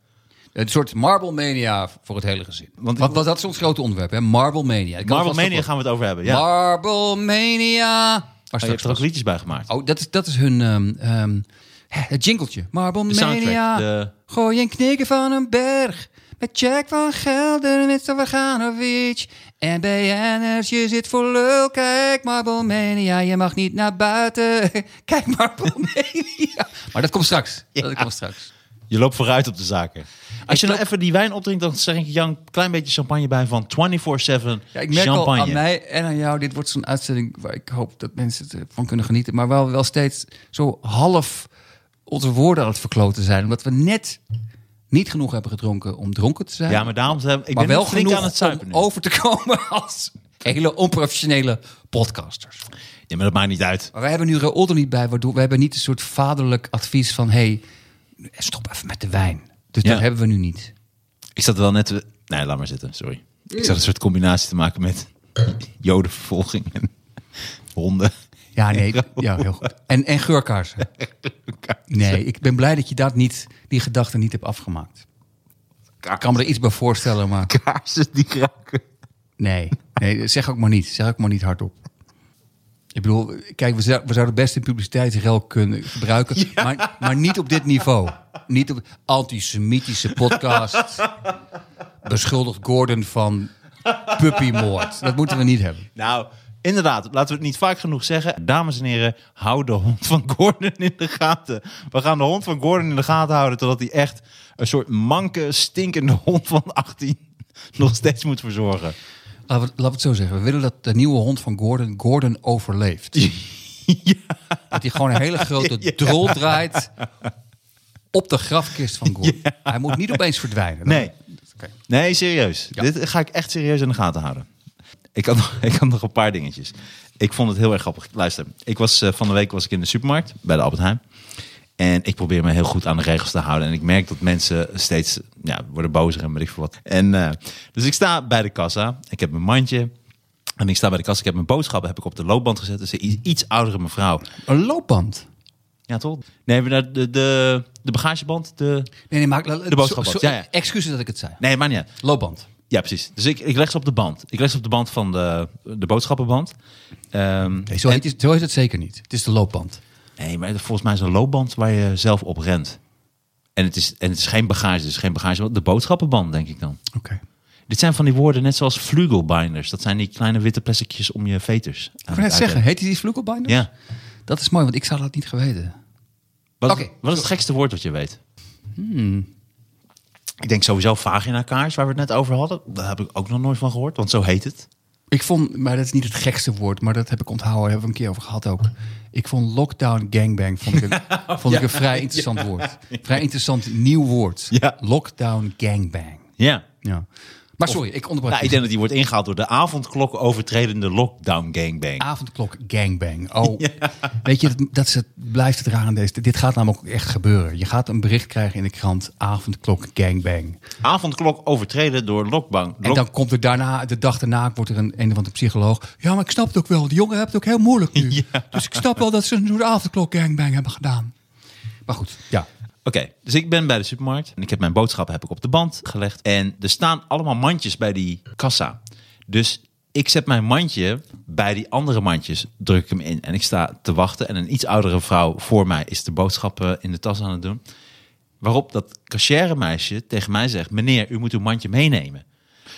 [SPEAKER 3] Een soort Marble Mania voor het hele gezin.
[SPEAKER 2] Want-
[SPEAKER 3] Want wat, wat, dat is ons grote onderwerp, hè? Marble Mania. Ik kan
[SPEAKER 2] Marble
[SPEAKER 3] vast wel-
[SPEAKER 2] Mania gaan we het over hebben. Ja. Oh,
[SPEAKER 3] Marble Mania. Waar
[SPEAKER 2] je
[SPEAKER 3] straks
[SPEAKER 2] hebt er ook
[SPEAKER 3] was.
[SPEAKER 2] liedjes bij gemaakt.
[SPEAKER 3] Oh, dat is, dat is hun... ehm, ehm, hè, het jingletje. Marble
[SPEAKER 2] De soundtrack,
[SPEAKER 3] Mania.
[SPEAKER 2] de-
[SPEAKER 3] Gooi een knikker van een berg. Met Jack van Gelder, met Stavaganovic. En BN'ers, je zit voor lul. Kijk, Marble Mania, je mag niet naar buiten. Kijk, Marble Mania. Maar dat komt straks. Dat komt straks.
[SPEAKER 2] Je loopt vooruit op de zaken. Als je nou even die wijn opdrinkt, dan zeg ik Jan een klein beetje champagne bij van 24-7
[SPEAKER 3] Ja, ik merk al
[SPEAKER 2] champagne.
[SPEAKER 3] aan mij en aan jou, dit wordt zo'n uitzending waar ik hoop dat mensen ervan kunnen genieten. Maar waar we wel steeds zo half onze woorden aan het verkloten zijn. Omdat we net niet genoeg hebben gedronken om dronken te zijn.
[SPEAKER 2] Ja, maar daarom zijn ik
[SPEAKER 3] maar
[SPEAKER 2] ben
[SPEAKER 3] wel
[SPEAKER 2] wel flink
[SPEAKER 3] genoeg
[SPEAKER 2] aan het zuipen
[SPEAKER 3] om
[SPEAKER 2] nu.
[SPEAKER 3] over te komen als hele onprofessionele podcasters.
[SPEAKER 2] Ja, maar dat maakt niet uit.
[SPEAKER 3] Maar wij hebben nu Raoul er niet bij, waardoor we hebben niet een soort vaderlijk advies van... hé, hey, stop even met de wijn. Dus
[SPEAKER 2] Ja.
[SPEAKER 3] dat hebben we nu niet.
[SPEAKER 2] Ik zat wel net... te- Nee, laat maar zitten, sorry. Ik zat een soort combinatie te maken met jodenvervolging en honden.
[SPEAKER 3] Ja, nee. Ja, heel goed. En, en geurkaarsen. Nee, ik ben blij dat je dat niet, die gedachte niet hebt afgemaakt. Ik kan me er iets bij voorstellen, maar
[SPEAKER 2] Kaarsen die raken.
[SPEAKER 3] nee. nee zeg ook maar niet. Zeg ook maar niet hardop. Ik bedoel, kijk, we, zou- we zouden best in publiciteitsrel kunnen gebruiken, maar, maar niet op dit niveau. Niet op antisemitische podcast. Beschuldigt Gordon van puppymoord. Dat moeten we niet hebben.
[SPEAKER 2] Nou, inderdaad, laten we het niet vaak genoeg zeggen. Dames en heren, hou de hond van Gordon in de gaten. We gaan de hond van Gordon in de gaten houden totdat hij echt een soort manke, stinkende hond van 18 nog steeds moet verzorgen.
[SPEAKER 3] Laten we, laten we het zo zeggen. We willen dat de nieuwe hond van Gordon, Gordon overleeft. Dat hij gewoon een hele grote drol draait op de grafkist van Gordon. Hij moet niet opeens verdwijnen.
[SPEAKER 2] Nee.
[SPEAKER 3] Oké.
[SPEAKER 2] Nee, serieus. Dit ga ik echt serieus in de gaten houden. Ik had, nog, ik had nog een paar dingetjes. Ik vond het heel erg grappig. Luister, ik was, eh, van de week was ik in de supermarkt bij de Albert Heijn. En ik probeer me heel goed aan de regels te houden. En ik merk dat mensen steeds ja, worden bozer en weet ik veel wat. En, eh, dus ik sta bij de kassa. Ik heb mijn mandje. En ik sta bij de kassa. Ik heb mijn boodschappen heb ik op de loopband gezet. Dus een i- iets oudere mevrouw.
[SPEAKER 3] Een loopband.
[SPEAKER 2] Ja, toch? Nee, maar de, de, de, de bagageband. De...
[SPEAKER 3] Nee, nee, maar, de
[SPEAKER 2] boodschapband, ja, ja.
[SPEAKER 3] Excuses dat ik het zei.
[SPEAKER 2] Nee, maar niet. uit.
[SPEAKER 3] Loopband.
[SPEAKER 2] Ja, precies. Dus ik, ik leg ze op de band. Ik leg ze op de band van de, de boodschappenband. Ehm,
[SPEAKER 3] Nee, zo, heet, het- zo heet het zeker niet. Het is de loopband.
[SPEAKER 2] nee, maar volgens mij is het een loopband waar je zelf op rent. En het is, en het is geen bagage, het is geen bagage. De boodschappenband, denk ik dan.
[SPEAKER 3] Oké.
[SPEAKER 2] Dit zijn van die woorden net zoals flugelbinders. Dat zijn die kleine witte plasticjes om je veters. aan
[SPEAKER 3] Ik
[SPEAKER 2] het
[SPEAKER 3] wil net
[SPEAKER 2] uitwerken.
[SPEAKER 3] zeggen, heet hij die vloekelbinder?
[SPEAKER 2] Ja.
[SPEAKER 3] Dat is mooi, want ik zou dat niet geweten.
[SPEAKER 2] Wat,
[SPEAKER 3] Oké. Hmm.
[SPEAKER 2] wat is het gekste woord dat je weet? Ik denk sowieso vagina-kaars, waar we het net over hadden. Daar heb ik ook nog nooit van gehoord, want zo heet het.
[SPEAKER 3] Ik vond, maar dat is niet het gekste woord, maar dat heb ik onthouden. Daar hebben we een keer over gehad ook. Ik vond lockdown gangbang vond ik een, vond ik een vrij interessant woord. Vrij interessant nieuw woord.
[SPEAKER 2] Ja.
[SPEAKER 3] Lockdown gangbang.
[SPEAKER 2] Ja.
[SPEAKER 3] Ja. Maar sorry, ik onderbrak
[SPEAKER 2] Nou,
[SPEAKER 3] je.
[SPEAKER 2] ik denk dat die wordt ingehaald door de avondklok overtredende lockdown gangbang.
[SPEAKER 3] Avondklok gangbang. Oh, weet je, dat, dat is het, blijft het raar aan deze. Dit gaat namelijk ook echt gebeuren. Je gaat een bericht krijgen in de krant. Avondklok gangbang.
[SPEAKER 2] Avondklok overtreden door lockdown.
[SPEAKER 3] En dan komt er daarna, de dag daarna, wordt er een een of andere psycholoog. Ja, maar ik snap het ook wel. Die jongen heeft het ook heel moeilijk nu. Dus ik snap wel dat ze een soort avondklok gangbang hebben gedaan. Maar goed, ja.
[SPEAKER 2] Oké, dus ik ben bij de supermarkt en ik heb mijn boodschappen heb ik op de band gelegd. En er staan allemaal mandjes bij die kassa. Dus ik zet mijn mandje bij die andere mandjes, druk ik hem in. En ik sta te wachten en een iets oudere vrouw voor mij is de boodschappen in de tas aan het doen. Waarop dat cachère meisje tegen mij zegt: Meneer, u moet uw mandje meenemen.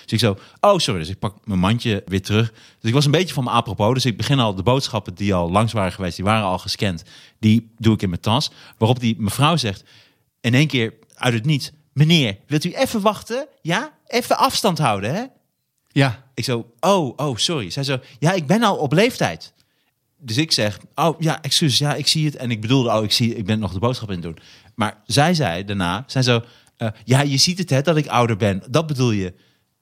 [SPEAKER 2] Dus ik zo, oh sorry, dus ik pak mijn mandje weer terug. Dus ik was een beetje van me apropos. Dus ik begin al de boodschappen die al langs waren geweest, die waren al gescand. Die doe ik in mijn tas. Waarop die mevrouw zegt, in één keer uit het niets... Meneer, wilt u even wachten? Ja? Even afstand houden, hè?
[SPEAKER 3] Ja.
[SPEAKER 2] Ik zo, oh, oh, sorry. Zij zo, ja, ik ben al op leeftijd. Dus ik zeg, oh ja, excuus, ja, ik zie het. En ik bedoelde, oh, ik, zie, ik ben nog de boodschap in het doen. Maar zij zei daarna, zij zo, eh, ja, je ziet het, hè, dat ik ouder ben. Dat bedoel je.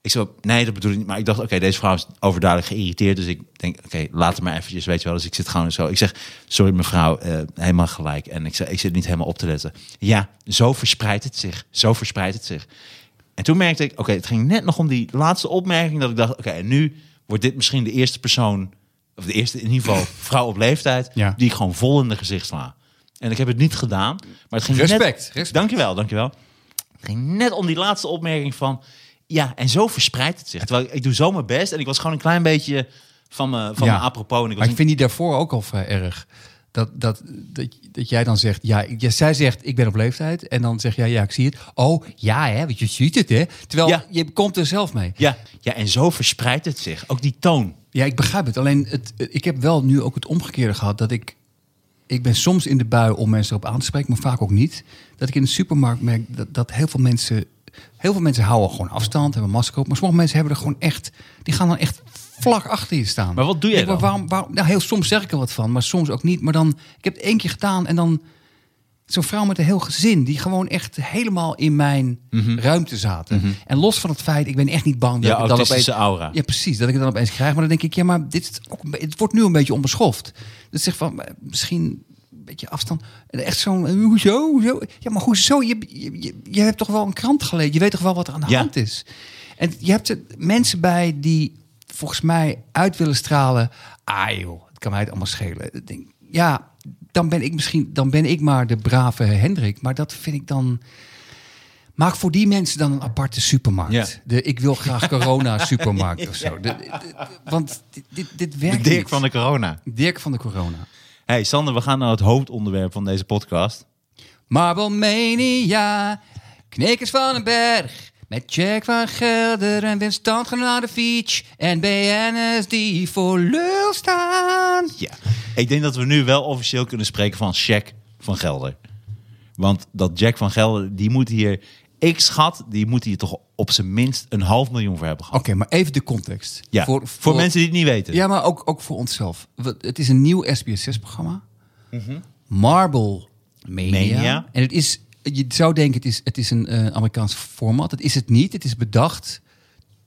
[SPEAKER 2] Ik zo, nee, dat bedoel ik niet. Maar ik dacht, oké, deze vrouw is overduidelijk geïrriteerd. Dus ik denk, oké, laat het maar eventjes, weet je wel. Dus ik zit gewoon zo. Ik zeg, sorry mevrouw, eh, helemaal gelijk. En ik, zeg, ik zit niet helemaal op te letten. Ja, zo verspreidt het zich. Zo verspreidt het zich. En toen merkte ik, oké, het ging net nog om die laatste opmerking dat ik dacht, oké, en nu wordt dit misschien de eerste persoon, of de eerste in ieder geval vrouw op leeftijd,
[SPEAKER 3] Ja.
[SPEAKER 2] die ik gewoon vol in de gezicht sla. En ik heb het niet gedaan, maar het ging net...
[SPEAKER 3] Respect, respect.
[SPEAKER 2] Dankjewel, dankjewel. Het ging net om die laatste opmerking van, ja, en zo verspreidt het zich. Terwijl ik, ik doe zo mijn best en ik was gewoon een klein beetje van me, van
[SPEAKER 3] Ja.
[SPEAKER 2] me apropos. En ik was
[SPEAKER 3] Maar ik
[SPEAKER 2] een-
[SPEAKER 3] vind die daarvoor ook al vrij erg. Dat, dat, dat, dat jij dan zegt, ja, ik- ja, zij zegt, ik ben op leeftijd. En dan zeg jij, ja, ik zie het. Oh, ja, hè, want je ziet het, hè. Terwijl
[SPEAKER 2] Ja.
[SPEAKER 3] je komt er zelf mee.
[SPEAKER 2] ja, ja, en zo verspreidt het zich. Ook die toon.
[SPEAKER 3] Ja, ik begrijp het. Alleen, het, eh, ik heb wel nu ook het omgekeerde gehad. Dat ik, ik ben soms in de bui om mensen erop aan te spreken, maar vaak ook niet. Dat ik in de supermarkt merk dat, dat heel veel mensen... Heel veel mensen houden gewoon afstand, hebben een masker op. Maar sommige mensen hebben er gewoon echt... Die gaan dan echt vlak achter je staan.
[SPEAKER 2] Maar wat doe
[SPEAKER 3] Ik
[SPEAKER 2] jij
[SPEAKER 3] denk,
[SPEAKER 2] dan?
[SPEAKER 3] Waarom, waarom, nou, heel soms zeg ik er wat van, maar soms ook niet. Maar dan, ik heb het één keer gedaan en dan... Zo'n vrouw met een heel gezin, die gewoon echt helemaal in mijn ruimte zaten. En los van het feit, ik ben echt niet bang
[SPEAKER 2] Mhm.
[SPEAKER 3] dat
[SPEAKER 2] Ja,
[SPEAKER 3] ik dan opeens...
[SPEAKER 2] autistische aura.
[SPEAKER 3] Ja, precies. Dat ik het dan opeens krijg. Maar dan denk ik, ja, maar dit is ook een be- het wordt nu een beetje onbeschoft. Dat zegt van, eh, misschien een beetje afstand. En Echt zo'n, eh, hoezo, hoezo? Ja, maar hoezo? Je, je, je- je hebt toch wel een krant gelezen. Je weet toch wel wat er aan de
[SPEAKER 2] Ja.
[SPEAKER 3] hand is. En je hebt er mensen bij die volgens mij uit willen stralen. Ah joh, het kan mij het allemaal schelen. Ik denk, ja, dan ben ik misschien, dan ben ik maar de brave Hendrik. Maar dat vind ik dan... Maak voor die mensen dan een aparte supermarkt.
[SPEAKER 2] Ja.
[SPEAKER 3] De ik wil graag corona supermarkt of zo. De- de- de- want dit, dit, dit werkt
[SPEAKER 2] De Dirk
[SPEAKER 3] niet.
[SPEAKER 2] van de corona.
[SPEAKER 3] Dirk van de corona.
[SPEAKER 2] Hey Sander, we gaan naar het hoofdonderwerp van deze podcast.
[SPEAKER 3] Marble Mania, Knikkers van den Berg. Met Jack van Gelder en Winston Gnadefiets. En BN'ers die voor lul staan.
[SPEAKER 2] Ja. Ik denk dat we nu wel officieel kunnen spreken van Jack van Gelder. Want dat Jack van Gelder, die moet hier... Ik schat, die moet hier toch op zijn minst een half miljoen voor hebben
[SPEAKER 3] Oké,
[SPEAKER 2] gehad.
[SPEAKER 3] maar even de context.
[SPEAKER 2] Ja, voor, mensen die het niet weten.
[SPEAKER 3] Oh, Ja, maar ook, ook voor onszelf. We- Het is een nieuw SBS6-programma. Marble Mania.
[SPEAKER 2] Mhm. Mania.
[SPEAKER 3] En het is, je zou denken, het is, het is een eh, Amerikaans format. Het is het niet. Het is bedacht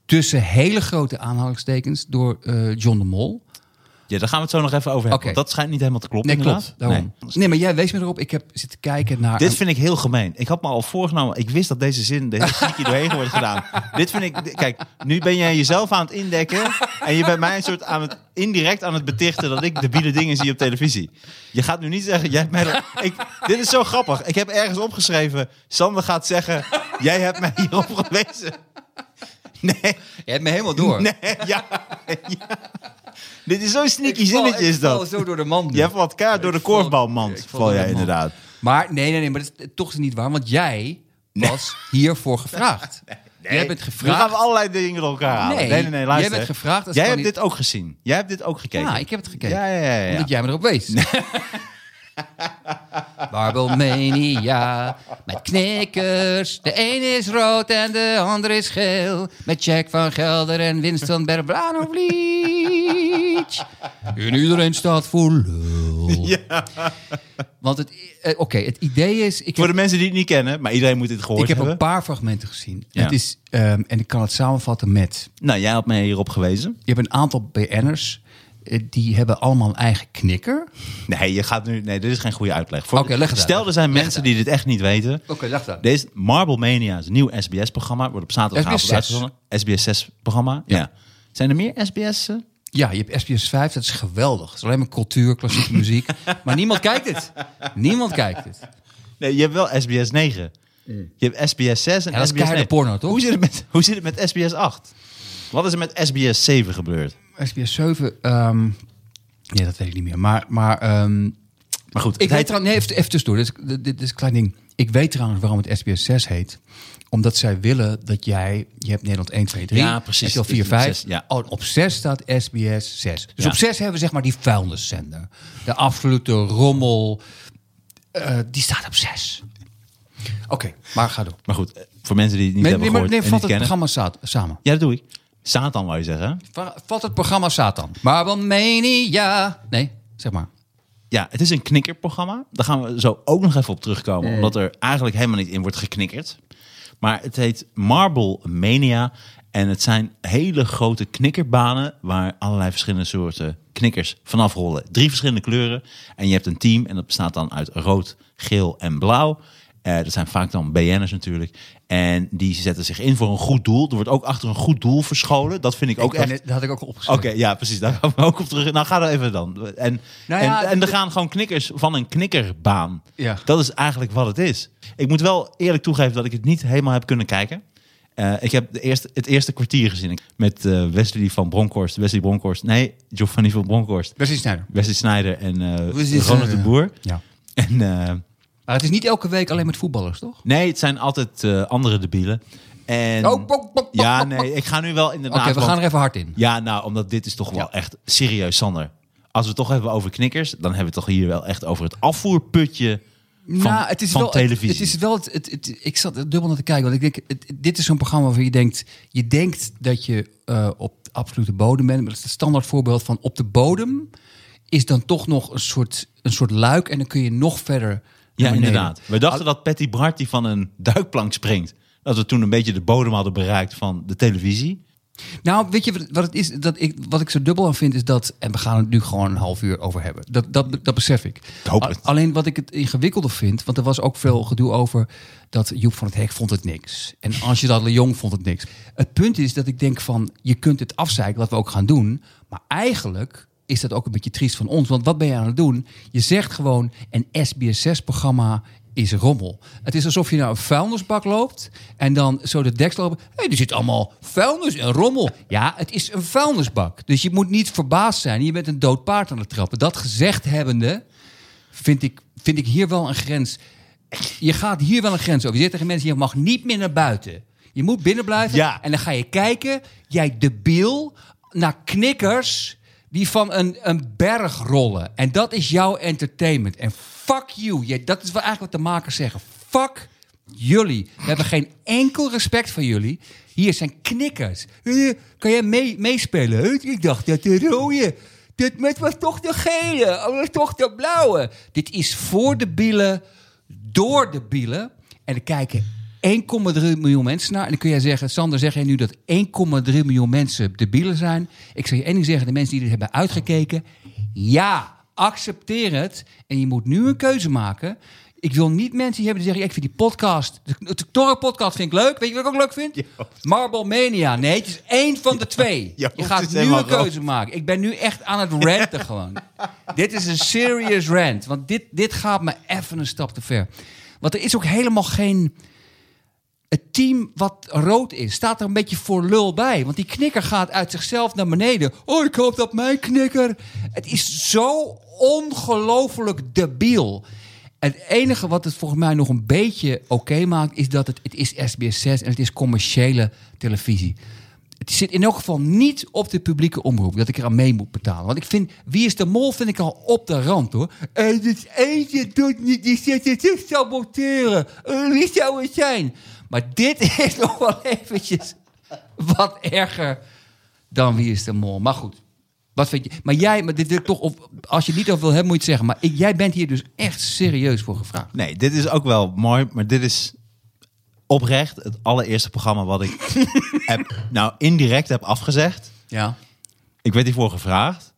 [SPEAKER 3] tussen hele grote aanhalingstekens door eh, John de Mol.
[SPEAKER 2] Ja, daar gaan we het zo nog even over hebben.
[SPEAKER 3] Oké.
[SPEAKER 2] want dat schijnt niet helemaal te kloppen
[SPEAKER 3] Nee,
[SPEAKER 2] inderdaad.
[SPEAKER 3] klopt. Daarom.
[SPEAKER 2] Nee.
[SPEAKER 3] Nee. maar jij wees me erop. Ik heb zitten kijken naar...
[SPEAKER 2] Dit vind ik heel gemeen. Ik had me al voorgenomen. Ik wist dat deze zin, deze sneaky doorheen wordt gedaan. Dit vind ik. Kijk, nu ben jij jezelf aan het indekken. En je bent mij een soort aan het, indirect aan het betichten dat ik debiele dingen zie op televisie. Je gaat nu niet zeggen. Jij hebt mij dat, ik, dit is zo grappig. Ik heb ergens opgeschreven. Sander gaat zeggen. Jij hebt mij hierop gewezen. Nee,
[SPEAKER 3] je hebt me helemaal door.
[SPEAKER 2] nee, ja. ja. Dit is zo'n sneaky zinnetje, is dat?
[SPEAKER 3] zo door de man.
[SPEAKER 2] Jij valt kaart door de
[SPEAKER 3] Ik val-
[SPEAKER 2] korfbalmand.
[SPEAKER 3] ik
[SPEAKER 2] Val
[SPEAKER 3] val door
[SPEAKER 2] jij
[SPEAKER 3] de mand.
[SPEAKER 2] inderdaad.
[SPEAKER 3] Maar nee, nee, nee. Maar dat is toch niet waar. Want jij was hiervoor gevraagd. Jij bent
[SPEAKER 2] Nu gaan we
[SPEAKER 3] gevraagd.
[SPEAKER 2] allerlei dingen door elkaar halen. Nee,
[SPEAKER 3] Nee,
[SPEAKER 2] nee, nee,
[SPEAKER 3] jij
[SPEAKER 2] luister.
[SPEAKER 3] bent gevraagd als
[SPEAKER 2] jij
[SPEAKER 3] kan
[SPEAKER 2] hebt
[SPEAKER 3] niet-
[SPEAKER 2] dit ook gezien. Jij hebt dit ook gekeken.
[SPEAKER 3] Ja, ik heb het gekeken.
[SPEAKER 2] Ja, ja, ja. ja.
[SPEAKER 3] Omdat jij me erop wees. Marble Mania met knikkers. De een is rood en de ander is geel. Met Jack van Gelder en Winston Berbranowlic. En iedereen staat voor lul. Want het, eh, oké, het idee is... Ik
[SPEAKER 2] Voor de mensen die het niet kennen, maar iedereen moet dit gehoord
[SPEAKER 3] ik heb
[SPEAKER 2] hebben.
[SPEAKER 3] een paar fragmenten gezien.
[SPEAKER 2] Ja.
[SPEAKER 3] Het is, ehm, en ik kan het samenvatten met...
[SPEAKER 2] Nou, jij had mij hierop gewezen.
[SPEAKER 3] Je hebt een aantal BN'ers... eh, Die hebben allemaal een eigen knikker.
[SPEAKER 2] Nee, je gaat nu. Nee, dit is geen goede uitleg. Voor-
[SPEAKER 3] Oké, leg het uit.
[SPEAKER 2] Stel, er zijn mensen die dit echt niet weten.
[SPEAKER 3] Oké, lag daar.
[SPEAKER 2] Deze Marble Mania is een nieuw SBS-programma. Wordt op zaterdagavond
[SPEAKER 3] SBS6.
[SPEAKER 2] uitgezonden. SBS6-programma. Ja. Zijn er meer SBS'en?
[SPEAKER 3] Ja, je hebt SBS 5, dat is geweldig. Het is alleen maar cultuur, klassieke muziek. Maar niemand kijkt het. Niemand kijkt het.
[SPEAKER 2] Nee, je hebt wel SBS 9. Je hebt SBS 6 en
[SPEAKER 3] Ja, dat is
[SPEAKER 2] SBS 9.
[SPEAKER 3] keiharde porno, toch?
[SPEAKER 2] Hoe zit, het met, hoe zit het met SBS 8? Wat is er met SBS 7 gebeurd?
[SPEAKER 3] SBS 7, ehm, nee, dat weet ik niet meer. Maar, maar ehm,
[SPEAKER 2] Maar goed,
[SPEAKER 3] Ik
[SPEAKER 2] het
[SPEAKER 3] weet
[SPEAKER 2] heet-
[SPEAKER 3] trouwens, nee, even, even tussendoor, dit is, dit, dit is een klein ding. Ik weet trouwens waarom het SBS 6 heet. Omdat zij willen dat jij, je hebt Nederland 1, 2, 3.
[SPEAKER 2] Ja, precies.
[SPEAKER 3] Heb je al 4,
[SPEAKER 2] Dit is
[SPEAKER 3] 5.
[SPEAKER 2] zes, ja.
[SPEAKER 3] Oh, op 6 staat SBS 6. Dus
[SPEAKER 2] Ja.
[SPEAKER 3] op 6 hebben we zeg maar die vuilniszender. De absolute rommel. Eh, die staat op 6. Oké, maar ga door.
[SPEAKER 2] maar goed, eh, voor mensen die het niet
[SPEAKER 3] Nee,
[SPEAKER 2] hebben
[SPEAKER 3] nee, maar,
[SPEAKER 2] gehoord
[SPEAKER 3] nee,
[SPEAKER 2] en niet
[SPEAKER 3] vat het
[SPEAKER 2] kennen.
[SPEAKER 3] programma sa- samen.
[SPEAKER 2] Ja, dat doe ik. Satan, wou je zeggen. hè?
[SPEAKER 3] Va- Vat het programma Satan. Maar wat mania. Nee, zeg maar.
[SPEAKER 2] Ja, het is een knikkerprogramma. Daar gaan we zo ook nog even op terugkomen. Omdat er eigenlijk helemaal niet in wordt geknikkerd. Maar het heet Marble Mania. En het zijn hele grote knikkerbanen waar allerlei verschillende soorten knikkers vanaf rollen. Drie verschillende kleuren. En je hebt een team en dat bestaat dan uit rood, geel en blauw. Eh, dat zijn vaak dan BN'ers natuurlijk. En die zetten zich in voor een goed doel. Er wordt ook achter een goed doel verscholen. Dat vind ik ook
[SPEAKER 3] Ik wou
[SPEAKER 2] echt...
[SPEAKER 3] net- dat had ik ook al opgeschreven.
[SPEAKER 2] Oké, ja, precies. Daar gaan we ook op terug. Nou, ga er even dan. En,
[SPEAKER 3] Nou ja,
[SPEAKER 2] en, en er
[SPEAKER 3] d-
[SPEAKER 2] gaan gewoon knikkers van een knikkerbaan.
[SPEAKER 3] Ja.
[SPEAKER 2] Dat is eigenlijk wat het is. Ik moet wel eerlijk toegeven dat ik het niet helemaal heb kunnen kijken. Eh, ik heb de eerste, het eerste kwartier gezien met eh, Wesley van Bronkhorst. Wesley Bronkhorst. Nee, Giovanni van Bronkhorst.
[SPEAKER 3] Wesley Sneijder.
[SPEAKER 2] Wesley Snijder en eh,
[SPEAKER 3] Wesley
[SPEAKER 2] Ronald de
[SPEAKER 3] Sneijder,
[SPEAKER 2] Boer.
[SPEAKER 3] Ja.
[SPEAKER 2] En, eh,
[SPEAKER 3] Maar het is niet elke week alleen met voetballers, toch?
[SPEAKER 2] nee, het zijn altijd eh, andere debielen. En,
[SPEAKER 3] Oh, pok, pok, pok,
[SPEAKER 2] ja,
[SPEAKER 3] pok, pok.
[SPEAKER 2] nee, ik ga nu wel
[SPEAKER 3] Oké,
[SPEAKER 2] inderdaad...
[SPEAKER 3] we
[SPEAKER 2] want-
[SPEAKER 3] gaan er even hard in.
[SPEAKER 2] Ja, nou, omdat dit is toch wel echt serieus, Sander. Als we het toch hebben over knikkers, dan hebben we het toch hier wel echt over het afvoerputje van,
[SPEAKER 3] nou, het is
[SPEAKER 2] van
[SPEAKER 3] wel,
[SPEAKER 2] televisie.
[SPEAKER 3] Het, het is wel het, het, het- ik zat er dubbel naar te kijken, want ik denk, het- het- dit is zo'n programma waar je denkt, je denkt dat je eh, op de absolute bodem bent. Maar dat is het standaard voorbeeld van op de bodem is dan toch nog een soort, een soort luik en dan kun je nog verder. naar
[SPEAKER 2] ja,
[SPEAKER 3] beneden.
[SPEAKER 2] inderdaad. We dachten dat Patty Bart die van een duikplank springt. Dat we toen een beetje de bodem hadden bereikt van de televisie.
[SPEAKER 3] Nou, weet je wat- wat het is? Dat ik, wat ik zo dubbel aan vind is dat... En we gaan het nu gewoon een half uur over hebben. Dat, dat, dat besef ik.
[SPEAKER 2] hoop het.
[SPEAKER 3] A- Alleen wat ik het ingewikkelder vind... Want er was ook veel gedoe over dat Joep van het Hek vond het niks. En Angela de Jong vond het niks. Het punt is dat ik denk van... Je kunt het afzeiken, wat we ook gaan doen. Maar eigenlijk is dat ook een beetje triest van ons. Want wat ben je aan het doen? Je zegt gewoon een SBS6-programma is rommel. Het is alsof je naar een vuilnisbak loopt en dan zo de deksel open. Hé, er zit allemaal vuilnis en rommel. Ja, het is een vuilnisbak. Dus je moet niet verbaasd zijn. Je bent een dood paard aan het trappen. Dat gezegd hebbende vind ik, vind ik hier wel een grens. Je gaat hier wel een grens over. Je zegt tegen mensen, je mag niet meer naar buiten. Je moet binnen blijven.
[SPEAKER 2] Ja.
[SPEAKER 3] En dan ga je kijken, jij debiel, naar knikkers die van een, een berg rollen. En dat is jouw entertainment. En fuck you. Je, dat is wel eigenlijk wat de makers zeggen. Fuck jullie. We hebben geen enkel respect voor jullie. Hier zijn knikkers. Eh, Kan jij mee, meespelen? Eh, Ik dacht dat de rode... Dit met was toch de gele, oh, dat was toch de blauwe. Dit is voor de bielen, door de bielen. En er kijken 1,3 miljoen mensen naar. En dan kun jij zeggen, Sander, zeg jij nu dat 1,3 miljoen mensen debielen zijn? Ik zal je één ding zeggen, de mensen die dit hebben uitgekeken. Ja, accepteer het. En je moet nu een keuze maken. Ik wil niet mensen die hebben die zeggen, ja, ik vind die podcast, de, de Torre-podcast vind ik leuk. Weet je wat ik ook leuk vind? Marble Mania. Nee, het is één van de twee.
[SPEAKER 2] Ja,
[SPEAKER 3] je
[SPEAKER 2] het is
[SPEAKER 3] gaat nu
[SPEAKER 2] helemaal
[SPEAKER 3] een keuze maken. Ik ben nu echt aan het ranten gewoon. dit is een serious rant. Want dit, dit gaat me even een stap te ver. Want er is ook helemaal geen... Het team wat rood is, staat er een beetje voor lul bij. Want die knikker gaat uit zichzelf naar beneden. Oh, ik hoop dat mijn knikker... Het is zo ongelooflijk debiel. Het enige wat het volgens mij nog een beetje oké maakt... is dat het, het is SBS6 en het is commerciële televisie. Het zit in elk geval niet op de publieke omroep dat ik eraan mee moet betalen. Want ik vind, wie is de mol, vind ik al op de rand hoor. En dit eentje doet niet, die zit het zich saboteren. Eh, wie zou het zijn? Maar dit is nog wel eventjes wat erger dan wie is de mol. Maar goed, wat vind je? Maar jij, maar dit wil ik toch, op, als je het niet over wil hebben, moet je het zeggen. Maar ik- jij bent hier dus echt serieus voor gevraagd.
[SPEAKER 2] Nee, dit is ook wel mooi, maar dit is oprecht het allereerste programma wat ik heb, nou indirect heb afgezegd.
[SPEAKER 3] Ja.
[SPEAKER 2] Ik werd hiervoor gevraagd.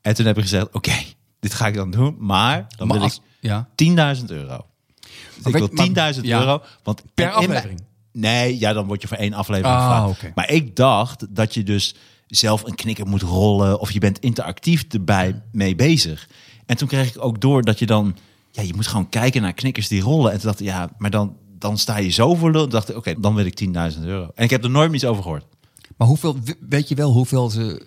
[SPEAKER 2] En toen heb ik gezegd, oké, dit ga ik dan doen. Maar dan
[SPEAKER 3] Maar
[SPEAKER 2] wil
[SPEAKER 3] als-
[SPEAKER 2] ik
[SPEAKER 3] ja.
[SPEAKER 2] 10.000 euro. Dus ik
[SPEAKER 3] weet
[SPEAKER 2] wil
[SPEAKER 3] je, maar-
[SPEAKER 2] 10.000
[SPEAKER 3] ja.
[SPEAKER 2] euro. Want
[SPEAKER 3] Per
[SPEAKER 2] en in mijn-
[SPEAKER 3] aflevering?
[SPEAKER 2] Nee, ja, dan word je voor één aflevering
[SPEAKER 3] Ah,
[SPEAKER 2] gevraagd.
[SPEAKER 3] oké.
[SPEAKER 2] Maar ik dacht dat je dus zelf een knikker moet rollen... of je bent interactief erbij mee bezig. En toen kreeg ik ook door dat je dan... Ja, je moet gewoon kijken naar knikkers die rollen. En toen dacht ik, ja, maar dan, dan sta je zo voor lul. Toen dacht ik, oké, dan wil ik 10.000 euro. En ik heb er nooit meer iets over gehoord.
[SPEAKER 3] Maar hoeveel, weet je wel hoeveel ze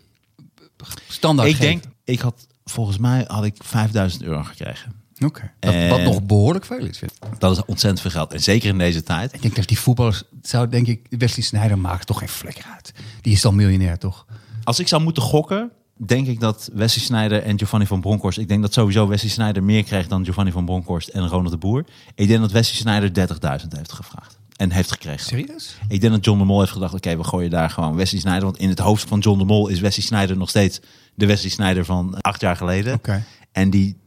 [SPEAKER 3] standaard
[SPEAKER 2] ik
[SPEAKER 3] geven?
[SPEAKER 2] denk, ik had volgens mij had ik 5000 euro gekregen.
[SPEAKER 3] Oké. Dat- Wat
[SPEAKER 2] En-
[SPEAKER 3] nog behoorlijk veel is. vind ik.
[SPEAKER 2] Dat is ontzettend veel geld. En zeker in deze tijd.
[SPEAKER 3] Ik denk dat die voetballers, zou denk ik, Wesley Sneijder maakt toch geen vlek uit. Die is dan miljonair, toch?
[SPEAKER 2] Als ik zou moeten gokken, denk ik dat Wesley Sneijder en Giovanni van Bronckhorst... Ik denk dat sowieso Wesley Sneijder meer krijgt dan Giovanni van Bronckhorst en Ronald de Boer. Ik denk dat Wesley Sneijder 30.000 heeft gevraagd. En heeft gekregen.
[SPEAKER 3] Serieus?
[SPEAKER 2] Ik denk dat John de Mol heeft gedacht, oké, we gooien daar gewoon Wesley Sneijder. Want in het hoofd van John de Mol is Wesley Sneijder nog steeds de Wesley Sneijder van acht jaar geleden.
[SPEAKER 3] Oké.
[SPEAKER 2] En die,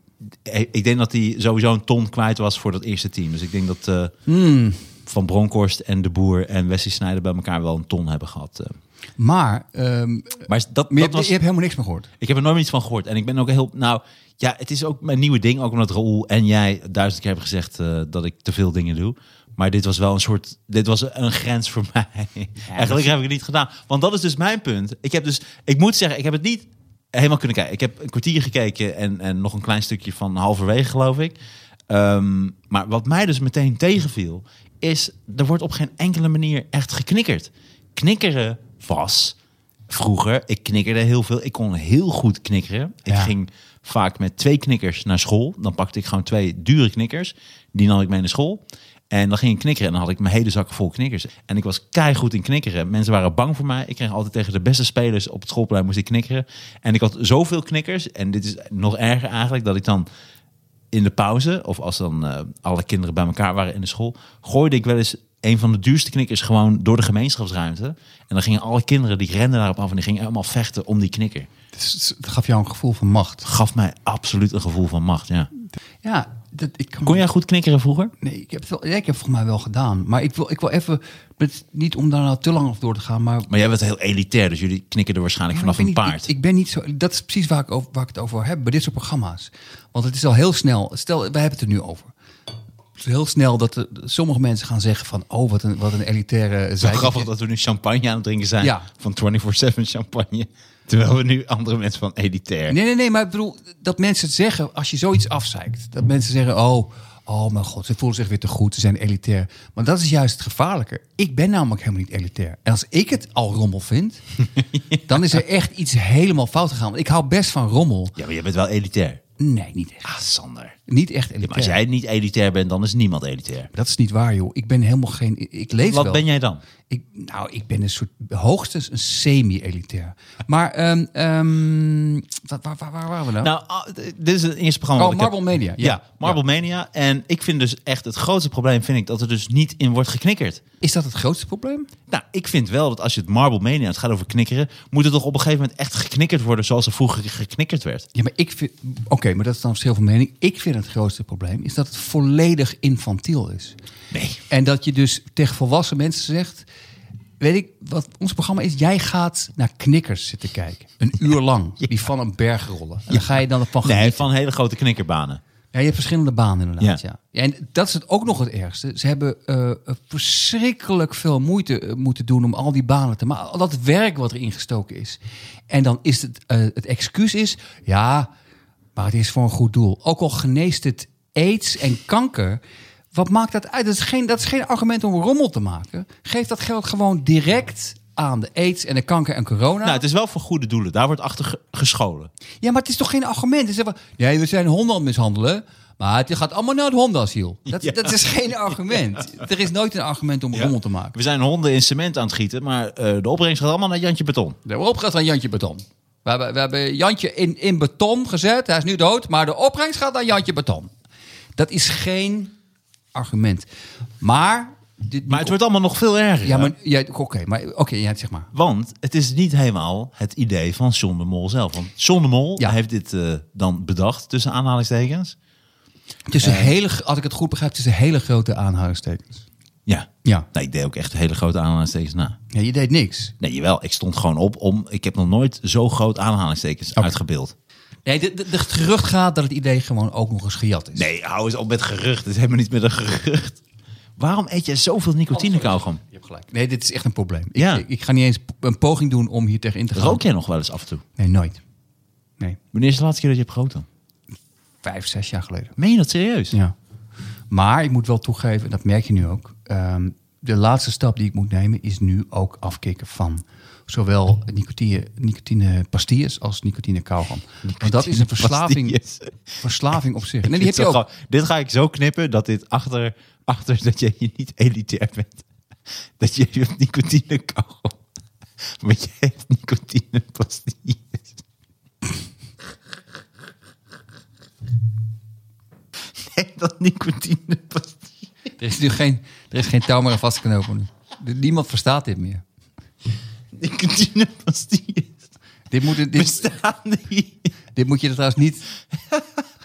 [SPEAKER 2] ik denk dat hij sowieso een ton kwijt was voor dat eerste team. Dus ik denk dat eh,
[SPEAKER 3] Hmm.
[SPEAKER 2] Van Bronkhorst en De Boer en Wesley Sneijder bij elkaar wel een ton hebben gehad. eh.
[SPEAKER 3] Maar, ehm,
[SPEAKER 2] Maar dat,
[SPEAKER 3] maar je,
[SPEAKER 2] dat was,
[SPEAKER 3] je hebt helemaal niks meer gehoord.
[SPEAKER 2] ik heb er nooit meer iets van gehoord. En ik ben ook heel, nou ja, het is ook mijn nieuwe ding. Ook omdat Raoul en jij duizend keer hebben gezegd eh, dat ik te veel dingen doe. Maar dit was wel een soort, dit was een grens voor mij. Eigenlijk heb ik het niet gedaan. Want dat is dus mijn punt. Ik heb dus, ik moet zeggen, ik heb het niet helemaal kunnen kijken. Ik heb een kwartier gekeken en, en nog een klein stukje van halverwege geloof ik. Ehm, maar wat mij dus meteen tegenviel, is er wordt op geen enkele manier echt geknikkerd. Knikkeren was vroeger, ik knikkerde heel veel. Ik kon heel goed knikkeren. Ik
[SPEAKER 3] Ja.
[SPEAKER 2] ging vaak met twee knikkers naar school. Dan pakte ik gewoon twee dure knikkers. Die nam ik mee naar school. En dan ging ik knikkeren en dan had ik mijn hele zak vol knikkers. En ik was keihard in knikkeren. Mensen waren bang voor mij. Ik kreeg altijd tegen de beste spelers op het schoolplein moest ik knikkeren. En ik had zoveel knikkers. En dit is nog erger eigenlijk, dat ik dan in de pauze, of als dan eh, alle kinderen bij elkaar waren in de school, gooide ik wel eens een van de duurste knikkers gewoon door de gemeenschapsruimte. En dan gingen alle kinderen, die renden daarop af en die gingen helemaal vechten om die knikker.
[SPEAKER 3] Dus Het gaf jou een gevoel van macht.
[SPEAKER 2] Gaf mij absoluut een gevoel van macht, ja.
[SPEAKER 3] Ja, dat, ik kan
[SPEAKER 2] Kon jij goed knikkeren vroeger?
[SPEAKER 3] Nee, ik heb het wel, ja, ik heb het volgens mij wel gedaan. Maar ik wil, ik wil even, met, niet om daar nou te lang op door te gaan, maar...
[SPEAKER 2] Maar jij werd heel elitair, dus jullie knikkerden waarschijnlijk vanaf
[SPEAKER 3] ik
[SPEAKER 2] een
[SPEAKER 3] ben niet-
[SPEAKER 2] paard.
[SPEAKER 3] Ik, ik ben niet zo. Dat is precies waar ik, over, waar ik het over heb bij dit soort programma's. Want het is al heel snel. Stel, wij hebben het er nu over. Het is heel snel dat er- sommige mensen gaan zeggen van... oh, wat een, wat een elitaire
[SPEAKER 2] Zo grappig
[SPEAKER 3] zijkantje.
[SPEAKER 2] dat we nu champagne aan het drinken zijn
[SPEAKER 3] Ja.
[SPEAKER 2] van 24-7 champagne. Terwijl we nu andere mensen van elitair.
[SPEAKER 3] Nee, nee, nee, maar ik bedoel, dat mensen het zeggen als je zoiets afzeikt. Dat mensen zeggen, oh, oh mijn god, ze voelen zich weer te goed, ze zijn elitair. Maar dat is juist het gevaarlijke. Ik ben namelijk helemaal niet elitair. En als ik het al rommel vind, dan is er echt iets helemaal fout gegaan. Want ik hou best van rommel.
[SPEAKER 2] Ja, maar je bent wel elitair.
[SPEAKER 3] Nee, niet echt.
[SPEAKER 2] Ah, Sander.
[SPEAKER 3] Niet echt
[SPEAKER 2] Ja,
[SPEAKER 3] elitair.
[SPEAKER 2] maar als jij niet elitair bent, dan is niemand elitair.
[SPEAKER 3] Dat is niet waar, joh. Ik ben helemaal geen... Ik leef
[SPEAKER 2] Wat
[SPEAKER 3] wel.
[SPEAKER 2] ben jij dan?
[SPEAKER 3] Ik, nou, ik ben een soort... Hoogstens een semi-elitair. Maar, ehm, ehm, wat- waar, waar, waar waren we nou?
[SPEAKER 2] Nou, ah, d- dit is het eerste programma.
[SPEAKER 3] Oh,
[SPEAKER 2] wat ik heb.
[SPEAKER 3] Marble Mania, ja.
[SPEAKER 2] Ja, Marble Mania. En ik vind dus echt het grootste probleem vind ik dat er dus niet in wordt geknikkerd.
[SPEAKER 3] Is dat het grootste probleem?
[SPEAKER 2] Nou, ik vind wel dat als je het Marble Mania, het gaat over knikkeren, moet het toch op een gegeven moment echt geknikkerd worden zoals er vroeger geknikkerd werd.
[SPEAKER 3] Ja, maar ik vind... Oké, maar dat is dan verschil van mening. Ik vind het grootste probleem is dat het volledig infantiel is.
[SPEAKER 2] Nee.
[SPEAKER 3] En dat je dus tegen volwassen mensen zegt... Weet ik wat ons programma is? Jij gaat naar knikkers zitten kijken. Een uur lang. Die van een berg rollen. En dan ga je dan ervan
[SPEAKER 2] Nee,
[SPEAKER 3] genieten.
[SPEAKER 2] van hele grote knikkerbanen.
[SPEAKER 3] Ja, je hebt verschillende banen inderdaad. Ja.
[SPEAKER 2] Ja.
[SPEAKER 3] Ja, en dat is het ook nog het ergste. Ze hebben eh, verschrikkelijk veel moeite eh, moeten doen om al die banen te maken. Al dat werk wat erin gestoken is. En dan is het, eh, het excuus is, ja, maar het is voor een goed doel. Ook al geneest het aids en kanker. Wat maakt dat uit? Dat is geen, dat is geen argument om rommel te maken. Geef dat geld gewoon direct aan de aids en de kanker en corona.
[SPEAKER 2] Nou, het is wel voor goede doelen. Daar wordt achter ge- gescholen.
[SPEAKER 3] Ja, maar het is toch geen argument? Ze zeggen, nee, we zijn honden aan het mishandelen. Maar het gaat allemaal naar het hondenasiel. Dat,
[SPEAKER 2] Ja.
[SPEAKER 3] dat is geen argument. Er is nooit een argument om rommel te maken.
[SPEAKER 2] We zijn honden in cement aan het gieten, maar eh, de opbrengst gaat allemaal naar Jantje Beton.
[SPEAKER 3] De opbrengst aan Jantje Beton. We hebben, we hebben Jantje in, in beton gezet. Hij is nu dood. Maar de opbrengst gaat aan Jantje Beton. Dat is geen argument. Maar... Dit,
[SPEAKER 2] Maar het wordt allemaal nog veel erger.
[SPEAKER 3] Ja, maar... Ja, Oké, maar, oké, ja, zeg maar.
[SPEAKER 2] Want het is niet helemaal het idee van John de Mol zelf. Want John de Mol
[SPEAKER 3] Ja.
[SPEAKER 2] heeft dit eh, dan bedacht, tussen aanhalingstekens.
[SPEAKER 3] Het is een hele... Als ik het goed begrijp, het is een hele grote aanhalingstekens.
[SPEAKER 2] Ja.
[SPEAKER 3] Ja.
[SPEAKER 2] Nou, ik deed ook echt hele grote aanhalingstekens na.
[SPEAKER 3] ja. Je deed niks.
[SPEAKER 2] Nee, jawel. Ik stond gewoon op om... Ik heb nog nooit zo groot aanhalingstekens uitgebeeld.
[SPEAKER 3] Nee, de, de, de gerucht gaat dat het idee gewoon ook nog eens gejat is.
[SPEAKER 2] Nee, hou eens op met gerucht. Het is helemaal niet met een gerucht. Waarom eet jij zoveel nicotine kauwgom?
[SPEAKER 3] Je hebt gelijk. Nee, dit is echt een probleem. Ik,
[SPEAKER 2] Ja.
[SPEAKER 3] ik, ik ga niet eens p- een poging doen om hier tegen in te gaan.
[SPEAKER 2] Rook jij nog wel eens af en toe?
[SPEAKER 3] Nee, nooit. Nee,
[SPEAKER 2] Wanneer is de laatste keer dat je hebt gerookt dan?
[SPEAKER 3] vijf, zes jaar geleden.
[SPEAKER 2] Meen je dat serieus?
[SPEAKER 3] Ja. Maar ik moet wel toegeven, en dat merk je nu ook. ehm, de laatste stap die ik moet nemen is nu ook afkicken van zowel nicotine, nicotine pastilles als nicotine kauwgom. Want dat is een verslaving,
[SPEAKER 2] Pastilles.
[SPEAKER 3] verslaving op zich. Nee,
[SPEAKER 2] Dit
[SPEAKER 3] die heb je
[SPEAKER 2] is wel
[SPEAKER 3] ook.
[SPEAKER 2] grappig. Dit ga ik zo knippen dat dit achter, achter dat je hier niet elitair bent. Dat je je nicotine kauwgom. Want je hebt nicotine pastilles. Nee, dat nicotine pastilles.
[SPEAKER 3] Er is nu geen, er is geen touw meer aan vast te knopen. nu. De- Niemand verstaat dit meer.
[SPEAKER 2] Nicotine pastilles.
[SPEAKER 3] Dit moet, dit,
[SPEAKER 2] Bestaan die?
[SPEAKER 3] dit moet je er trouwens niet...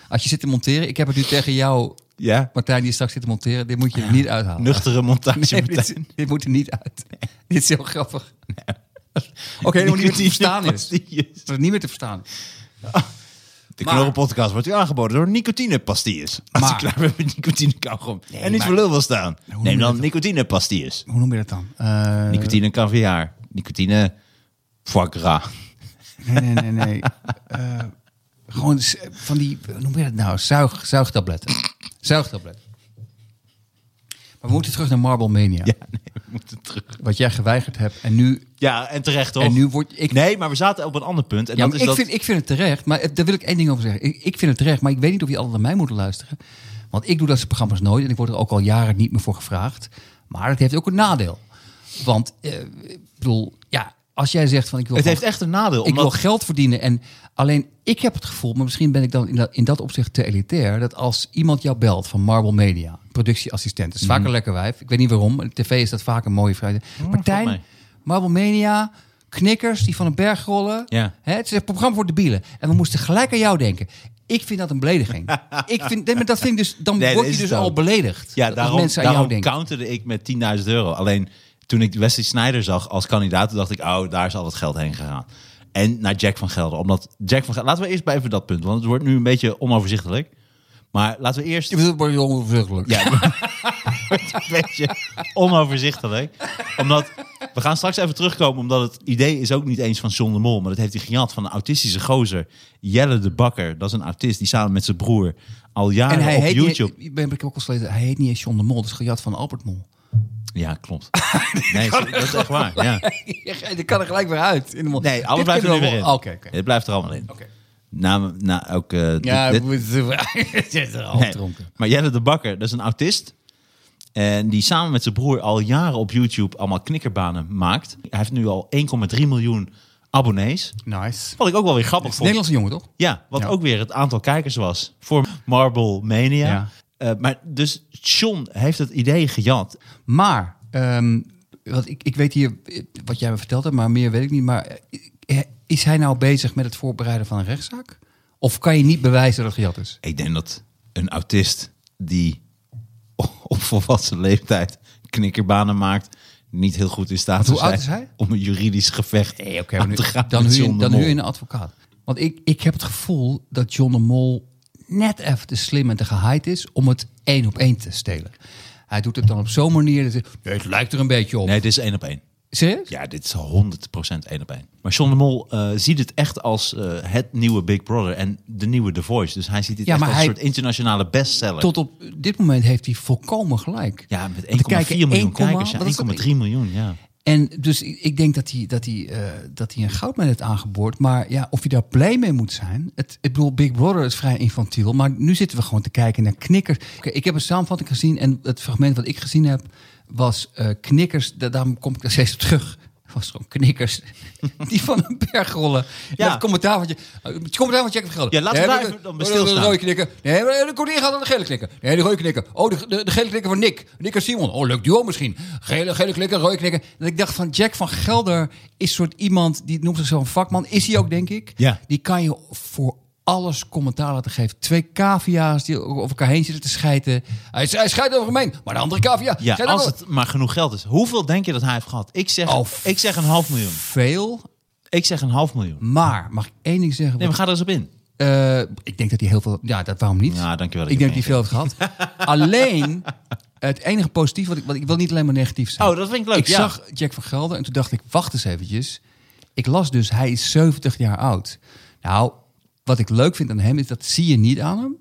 [SPEAKER 3] Als je zit te monteren... Ik heb het nu tegen jou,
[SPEAKER 2] Ja,
[SPEAKER 3] Martijn, die straks zit te monteren. Dit moet je er niet uithalen.
[SPEAKER 2] nuchtere montage.
[SPEAKER 3] Nee, dit,
[SPEAKER 2] meteen.
[SPEAKER 3] dit moet er niet uit. Dit is heel grappig. Oké, helemaal niet meer te
[SPEAKER 2] Nicotine
[SPEAKER 3] verstaan is.
[SPEAKER 2] pastilles.
[SPEAKER 3] Dat is niet meer te verstaan.
[SPEAKER 2] De
[SPEAKER 3] Maar-
[SPEAKER 2] Knorrenpodcast wordt u aangeboden door nicotinepastilles. Als je
[SPEAKER 3] Maar-
[SPEAKER 2] klaar bent met nicotine kauwgom en niet
[SPEAKER 3] maar-
[SPEAKER 2] voor lul wil staan,
[SPEAKER 3] noem
[SPEAKER 2] neem
[SPEAKER 3] je
[SPEAKER 2] dan
[SPEAKER 3] dat?
[SPEAKER 2] nicotinepastilles.
[SPEAKER 3] Hoe noem je dat dan? Eh,
[SPEAKER 2] Nicotine caviar, nicotine foie gras.
[SPEAKER 3] Nee, nee, nee. nee. Eh, gewoon s- van die, hoe noem je dat nou? Zuig, zuigtabletten. Zuigtabletten. Maar we moeten terug naar Marble Mania.
[SPEAKER 2] Ja, nee, we moeten terug.
[SPEAKER 3] Wat jij geweigerd hebt. En nu,
[SPEAKER 2] Ja, en terecht toch?
[SPEAKER 3] en nu word ik...
[SPEAKER 2] Nee, maar we zaten op een ander punt. En
[SPEAKER 3] Ja,
[SPEAKER 2] dat
[SPEAKER 3] maar
[SPEAKER 2] is
[SPEAKER 3] ik,
[SPEAKER 2] dat...
[SPEAKER 3] vind, ik vind het terecht, maar het- daar wil ik één ding over zeggen. Ik, ik vind het terecht, maar ik weet niet of je altijd naar mij moet luisteren. Want ik doe dat soort programma's nooit en ik word er ook al jaren niet meer voor gevraagd. Maar het heeft ook een nadeel. Want, eh, ik bedoel, ja, als jij zegt van ik wil...
[SPEAKER 2] het
[SPEAKER 3] gewoon-
[SPEAKER 2] heeft echt een nadeel.
[SPEAKER 3] ik
[SPEAKER 2] Omdat...
[SPEAKER 3] wil geld verdienen. En alleen ik heb het gevoel, maar misschien ben ik dan in dat, in dat opzicht te elitair, dat als iemand jou belt van Marble Media, productieassistent, dat is vaak een lekker wijf. Ik weet niet waarom. in de tv is dat vaak een mooie vrijdag. Martijn,
[SPEAKER 2] Mhm. volgens
[SPEAKER 3] Marble Media, knikkers die van een berg rollen.
[SPEAKER 2] Ja.
[SPEAKER 3] Hè, het is een programma voor debielen. En we moesten gelijk aan jou denken. Ik vind dat een belediging. ik vind, nee, maar dat vind ik dus, dan
[SPEAKER 2] Nee, dat
[SPEAKER 3] word je
[SPEAKER 2] is
[SPEAKER 3] dus
[SPEAKER 2] het ook.
[SPEAKER 3] al beledigd.
[SPEAKER 2] Ja,
[SPEAKER 3] als
[SPEAKER 2] daarom,
[SPEAKER 3] mensen aan
[SPEAKER 2] daarom
[SPEAKER 3] jou denken.
[SPEAKER 2] counterde ik met 10.000 euro. Alleen toen ik Wesley Snyder zag als kandidaat, toen dacht ik, oh, daar is al het geld heen gegaan. En naar Jack van Gelder. Omdat Jack van Gelder, laten we eerst bij even dat punt, want het wordt nu een beetje onoverzichtelijk. Maar laten we eerst.
[SPEAKER 3] Je bedoelt, maar jongen, vruchtelijk.
[SPEAKER 2] Ja, het wordt een beetje onoverzichtelijk. Omdat we gaan straks even terugkomen, omdat het idee is ook niet eens van John de Mol, maar dat heeft hij gejat van een autistische gozer, Jelle de Bakker. Dat is een autist die samen met zijn broer al jaren
[SPEAKER 3] En hij
[SPEAKER 2] op
[SPEAKER 3] heet, niet-
[SPEAKER 2] YouTube.
[SPEAKER 3] ik ben ik heb ook al gelezen, hij heet niet eens John de Mol, dat is gejat van Albert Mol.
[SPEAKER 2] Ja, klopt. Nee, dat is echt waar. Ja.
[SPEAKER 3] Je kan er gelijk weer uit. In de mond.
[SPEAKER 2] Nee, alles
[SPEAKER 3] Dit
[SPEAKER 2] blijft er nu
[SPEAKER 3] kunnen we
[SPEAKER 2] weer in.
[SPEAKER 3] wel- Oké, oké.
[SPEAKER 2] Dit blijft er allemaal in.
[SPEAKER 3] Oké.
[SPEAKER 2] Na, na, ook, eh, dit-
[SPEAKER 3] Ja,
[SPEAKER 2] dit-
[SPEAKER 3] het is er al
[SPEAKER 2] nee.
[SPEAKER 3] dronken.
[SPEAKER 2] Maar Jelle de Bakker, dat is een autist. En die samen met zijn broer al jaren op YouTube allemaal knikkerbanen maakt. Hij heeft nu al 1,3 miljoen abonnees.
[SPEAKER 3] Nice.
[SPEAKER 2] Wat ik ook wel weer grappig
[SPEAKER 3] Het is een
[SPEAKER 2] vond.
[SPEAKER 3] Nederlandse jongen, toch?
[SPEAKER 2] Ja, wat
[SPEAKER 3] Ja.
[SPEAKER 2] ook weer het aantal kijkers was voor Marble Mania.
[SPEAKER 3] Ja.
[SPEAKER 2] Eh, maar dus John heeft het idee gejat.
[SPEAKER 3] Maar, ehm, wat ik, ik weet hier eh, wat jij me verteld hebt, maar meer weet ik niet. Maar eh, is hij nou bezig met het voorbereiden van een rechtszaak? Of kan je niet bewijzen dat het gejat is?
[SPEAKER 2] Ik denk dat een autist die op volwassen leeftijd knikkerbanen maakt, niet heel goed in staat
[SPEAKER 3] Hoe
[SPEAKER 2] is
[SPEAKER 3] oud is hij?
[SPEAKER 2] om een juridisch gevecht
[SPEAKER 3] Nee,
[SPEAKER 2] aan
[SPEAKER 3] oké, maar Ah, nu-
[SPEAKER 2] te gaan.
[SPEAKER 3] dan
[SPEAKER 2] met
[SPEAKER 3] huur, je,
[SPEAKER 2] John de
[SPEAKER 3] dan
[SPEAKER 2] Mol.
[SPEAKER 3] huur je een advocaat. Want ik, ik heb het gevoel dat John de Mol net even te slim en te gehaaid is om het één op één te stelen. Hij doet het dan op zo'n manier. Dat het, nee, het lijkt er een beetje op.
[SPEAKER 2] Nee, dit is één op één.
[SPEAKER 3] Serieus?
[SPEAKER 2] Ja, dit is 100% één op één. Maar John de Mol eh, ziet het echt als eh, het nieuwe Big Brother en de nieuwe The Voice. Dus hij ziet dit
[SPEAKER 3] Ja,
[SPEAKER 2] echt
[SPEAKER 3] maar
[SPEAKER 2] als een
[SPEAKER 3] hij-
[SPEAKER 2] soort internationale bestseller.
[SPEAKER 3] Tot op dit moment heeft hij volkomen gelijk.
[SPEAKER 2] Ja, met 1,4
[SPEAKER 3] Want er kijken
[SPEAKER 2] miljoen
[SPEAKER 3] 1,1
[SPEAKER 2] kijkers. Ja,
[SPEAKER 3] wat is dat?
[SPEAKER 2] 1,3 miljoen, ja.
[SPEAKER 3] En dus ik ik denk dat hij, dat hij, eh, dat hij een goudmijn heeft aangeboord. Maar ja, of je daar blij mee moet zijn. Het, ik bedoel, Big Brother is vrij infantiel. Maar nu zitten we gewoon te kijken naar knikkers. Oké, ik heb een samenvatting gezien. En het fragment wat ik gezien heb was eh, knikkers. Da- daarom kom ik daar steeds op terug. Was gewoon knikkers. die van een berg rollen.
[SPEAKER 2] Ja.
[SPEAKER 3] Ja. Het commentaar van je. Het commentaar van Jack van Gelder.
[SPEAKER 2] Ja, laten we
[SPEAKER 3] Nee,
[SPEAKER 2] daar
[SPEAKER 3] maar-
[SPEAKER 2] even dan bij
[SPEAKER 3] oh, de- de- de
[SPEAKER 2] stilstaan.
[SPEAKER 3] rode knikker. Nee, maar dan komt de ingaan aan de gele knikker. Nee, de rode knikker. Oh, de, de, de gele knikker van Nick. Nick en Simon. Oh, leuk duo misschien. Gele, gele knikker, rode knikker. Dat ik dacht van Jack van Gelder is soort iemand die noemt zichzelf een vakman. Is hij ook, denk ik.
[SPEAKER 2] Ja.
[SPEAKER 3] Die kan je voor alles commentaar laten geven. Twee cavia's die over elkaar heen zitten te schijten. Hij, hij scheidt over hem heen, maar de andere cavia...
[SPEAKER 2] Ja,
[SPEAKER 3] scheidt
[SPEAKER 2] als
[SPEAKER 3] over-
[SPEAKER 2] het maar genoeg geld is. Hoeveel denk je dat hij heeft gehad? Ik zeg,
[SPEAKER 3] Oh,
[SPEAKER 2] ik zeg een half miljoen.
[SPEAKER 3] Veel,
[SPEAKER 2] Ik zeg een half miljoen.
[SPEAKER 3] maar mag ik één ding zeggen?
[SPEAKER 2] Nee, we gaan er eens op in.
[SPEAKER 3] Eh, ik denk dat hij heel veel. Ja, dat, waarom niet?
[SPEAKER 2] Ja, dankjewel dat
[SPEAKER 3] Ik
[SPEAKER 2] je
[SPEAKER 3] denk dat hij veel heeft gehad. Alleen, het enige positief, want ik, want ik wil niet alleen maar negatief zijn.
[SPEAKER 2] Oh, dat vind ik leuk,
[SPEAKER 3] Ik
[SPEAKER 2] ja.
[SPEAKER 3] zag Jack van Gelder en toen dacht ik, wacht eens eventjes. Ik las dus, hij is 70 jaar oud. Nou, wat ik leuk vind aan hem is, dat zie je niet aan hem.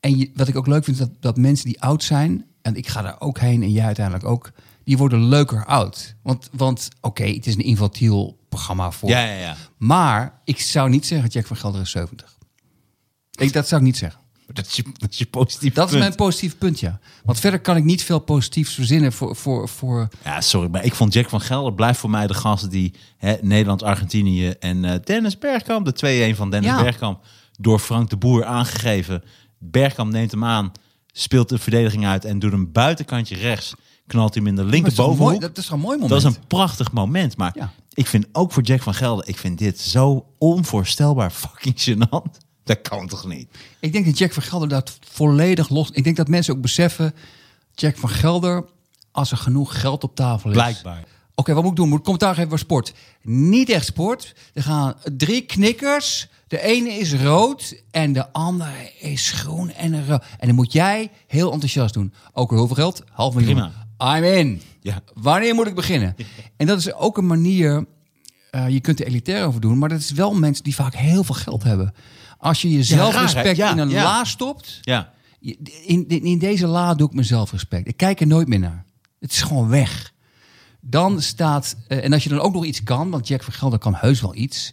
[SPEAKER 3] En je- wat ik ook leuk vind, is dat, dat mensen die oud zijn, en ik ga daar ook heen en jij uiteindelijk ook, die worden leuker oud. Want, want oké, het is een infantiel programma voor.
[SPEAKER 2] Ja, ja, ja.
[SPEAKER 3] Maar ik zou niet zeggen, Jack van Gelder is 70. Ik, dat zou ik niet zeggen.
[SPEAKER 2] Dat is je, dat is je positief
[SPEAKER 3] Dat is
[SPEAKER 2] punt.
[SPEAKER 3] mijn positief punt, ja. Want verder kan ik niet veel positiefs verzinnen voor... voor, voor...
[SPEAKER 2] Ja, sorry, maar ik vond Jack van Gelder blijft voor mij de gast die hè, Nederland, Argentinië en eh, Dennis Bergkamp, de 2-1 van Dennis
[SPEAKER 3] Ja.
[SPEAKER 2] Bergkamp, door Frank de Boer aangegeven. Bergkamp neemt hem aan, speelt de verdediging uit en doet een buitenkantje rechts, knalt hem in de
[SPEAKER 3] Maar het is toch
[SPEAKER 2] linkerbovenhoek.
[SPEAKER 3] mooi- Dat is toch een mooi moment.
[SPEAKER 2] Dat is een prachtig moment, maar
[SPEAKER 3] Ja.
[SPEAKER 2] ik vind ook voor Jack van Gelder, ik vind dit zo onvoorstelbaar fucking gênant. Dat kan toch niet?
[SPEAKER 3] Ik denk dat Jack van Gelder dat volledig los... Ik denk dat mensen ook beseffen... Jack van Gelder, als er genoeg geld op tafel is...
[SPEAKER 2] Blijkbaar.
[SPEAKER 3] Oké, wat moet ik doen? Moet ik commentaar geven voor sport? Niet echt sport. Er gaan drie knikkers. De ene is rood en de andere is groen en rood. En dan moet jij heel enthousiast doen. Ook al hoeveel geld? Half miljoen. I'm in.
[SPEAKER 2] Ja.
[SPEAKER 3] Wanneer moet ik beginnen? En dat is ook een manier... eh, je kunt er elitair over doen, maar dat is wel mensen die vaak heel veel geld hebben. Als je je zelfrespect
[SPEAKER 2] ja,
[SPEAKER 3] in een
[SPEAKER 2] ja.
[SPEAKER 3] la stopt...
[SPEAKER 2] Ja.
[SPEAKER 3] Je- In, in, in deze la doe ik mijn zelfrespect. Ik kijk er nooit meer naar. Het is gewoon weg. Dan staat, eh, en als je dan ook nog iets kan, want Jack van Gelder kan heus wel iets,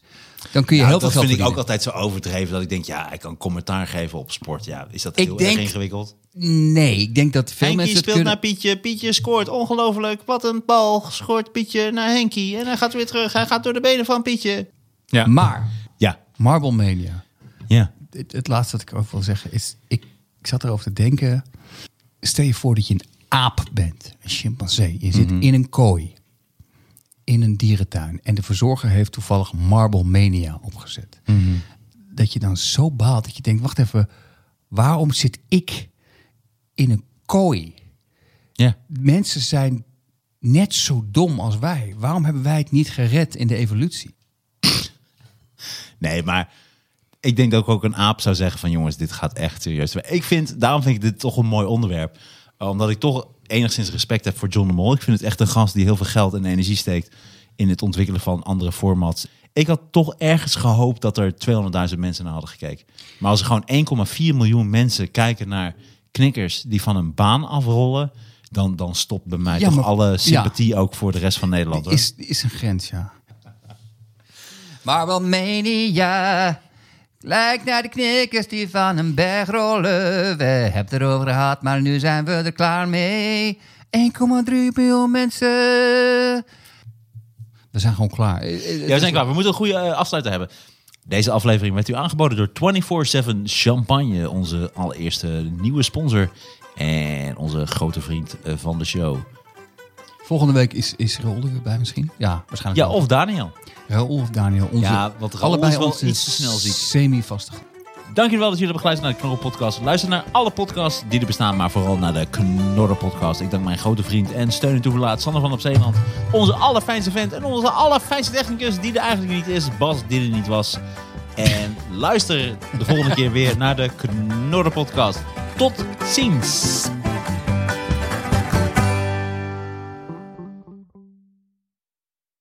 [SPEAKER 3] dan kun je
[SPEAKER 2] Ja,
[SPEAKER 3] heel veel
[SPEAKER 2] dat
[SPEAKER 3] geld
[SPEAKER 2] vind ik ook
[SPEAKER 3] verdienen.
[SPEAKER 2] altijd zo overdreven dat ik denk, ja, ik kan commentaar geven op sport. Ja, is dat
[SPEAKER 3] Ik
[SPEAKER 2] heel
[SPEAKER 3] denk-
[SPEAKER 2] erg ingewikkeld?
[SPEAKER 3] Nee, ik denk dat veel
[SPEAKER 2] Henkie
[SPEAKER 3] mensen
[SPEAKER 2] speelt
[SPEAKER 3] het kunnen.
[SPEAKER 2] naar Pietje. Pietje scoort ongelooflijk. Wat een bal. Schort Pietje naar Henkie. En hij gaat weer terug. Hij gaat door de benen van Pietje. Ja.
[SPEAKER 3] Maar
[SPEAKER 2] ja.
[SPEAKER 3] Marble Mania.
[SPEAKER 2] ja.
[SPEAKER 3] Het, het laatste wat ik ook wil zeggen is, ik, ik zat erover te denken. Stel je voor dat je een aap bent, een chimpansee. Je zit in een kooi, in een dierentuin. En de verzorger heeft toevallig Marble Mania opgezet. Dat je dan zo baalt dat je denkt, wacht even, waarom zit ik in een kooi?
[SPEAKER 2] Ja.
[SPEAKER 3] Mensen zijn net zo dom als wij. Waarom hebben wij het niet gered in de evolutie?
[SPEAKER 2] Nee, maar ik denk dat ik ook een aap zou zeggen van jongens, dit gaat echt serieus. Ik vind, daarom vind ik dit toch een mooi onderwerp. Eh, Omdat ik toch enigszins respect heb voor John de Mol. Ik vind het echt een gast die heel veel geld en energie steekt in het ontwikkelen van andere formats. Ik had toch ergens gehoopt dat er 200.000 mensen naar hadden gekeken. Maar als er gewoon 1,4 miljoen mensen kijken naar knikkers die van een baan afrollen, dan, dan stopt bij mij
[SPEAKER 3] Ja,
[SPEAKER 2] toch
[SPEAKER 3] maar- ja.
[SPEAKER 2] alle sympathie ook voor de rest van Nederland. hoor.
[SPEAKER 3] Is, is een grens, ja. Marble Mania lijkt naar de knikkers die van een berg rollen. We hebben het erover gehad, maar nu zijn we er klaar mee. 1,3 miljoen mensen. We zijn gewoon klaar. Eh, eh,
[SPEAKER 2] Ja, we zijn klaar. We moeten een goede eh, afsluiter hebben. Deze aflevering werd u aangeboden door 24-7 Champagne, onze allereerste nieuwe sponsor. En onze grote vriend eh, van de show.
[SPEAKER 3] Volgende week is, is Raoul er weer bij misschien? Ja, waarschijnlijk
[SPEAKER 2] Ja, of Daniel.
[SPEAKER 3] wel. Raoul of Daniel. Onze,
[SPEAKER 2] Ja, want Raoul
[SPEAKER 3] allebei
[SPEAKER 2] is wel
[SPEAKER 3] onze
[SPEAKER 2] iets te snel ziek.
[SPEAKER 3] Semi-vastig.
[SPEAKER 2] Dank jullie wel dat jullie hebben geluisterd naar de Knorren Podcast. Luister naar alle podcasts die er bestaan, maar vooral naar de Knorren Podcast. Ik dank mijn grote vriend en steun en toeverlaat Sander van op Zeeland. Onze allerfijnste vent en onze allerfijnste technicus die er eigenlijk niet is. Bas die er niet was. En luister de volgende keer weer naar de Knorren Podcast. Tot ziens!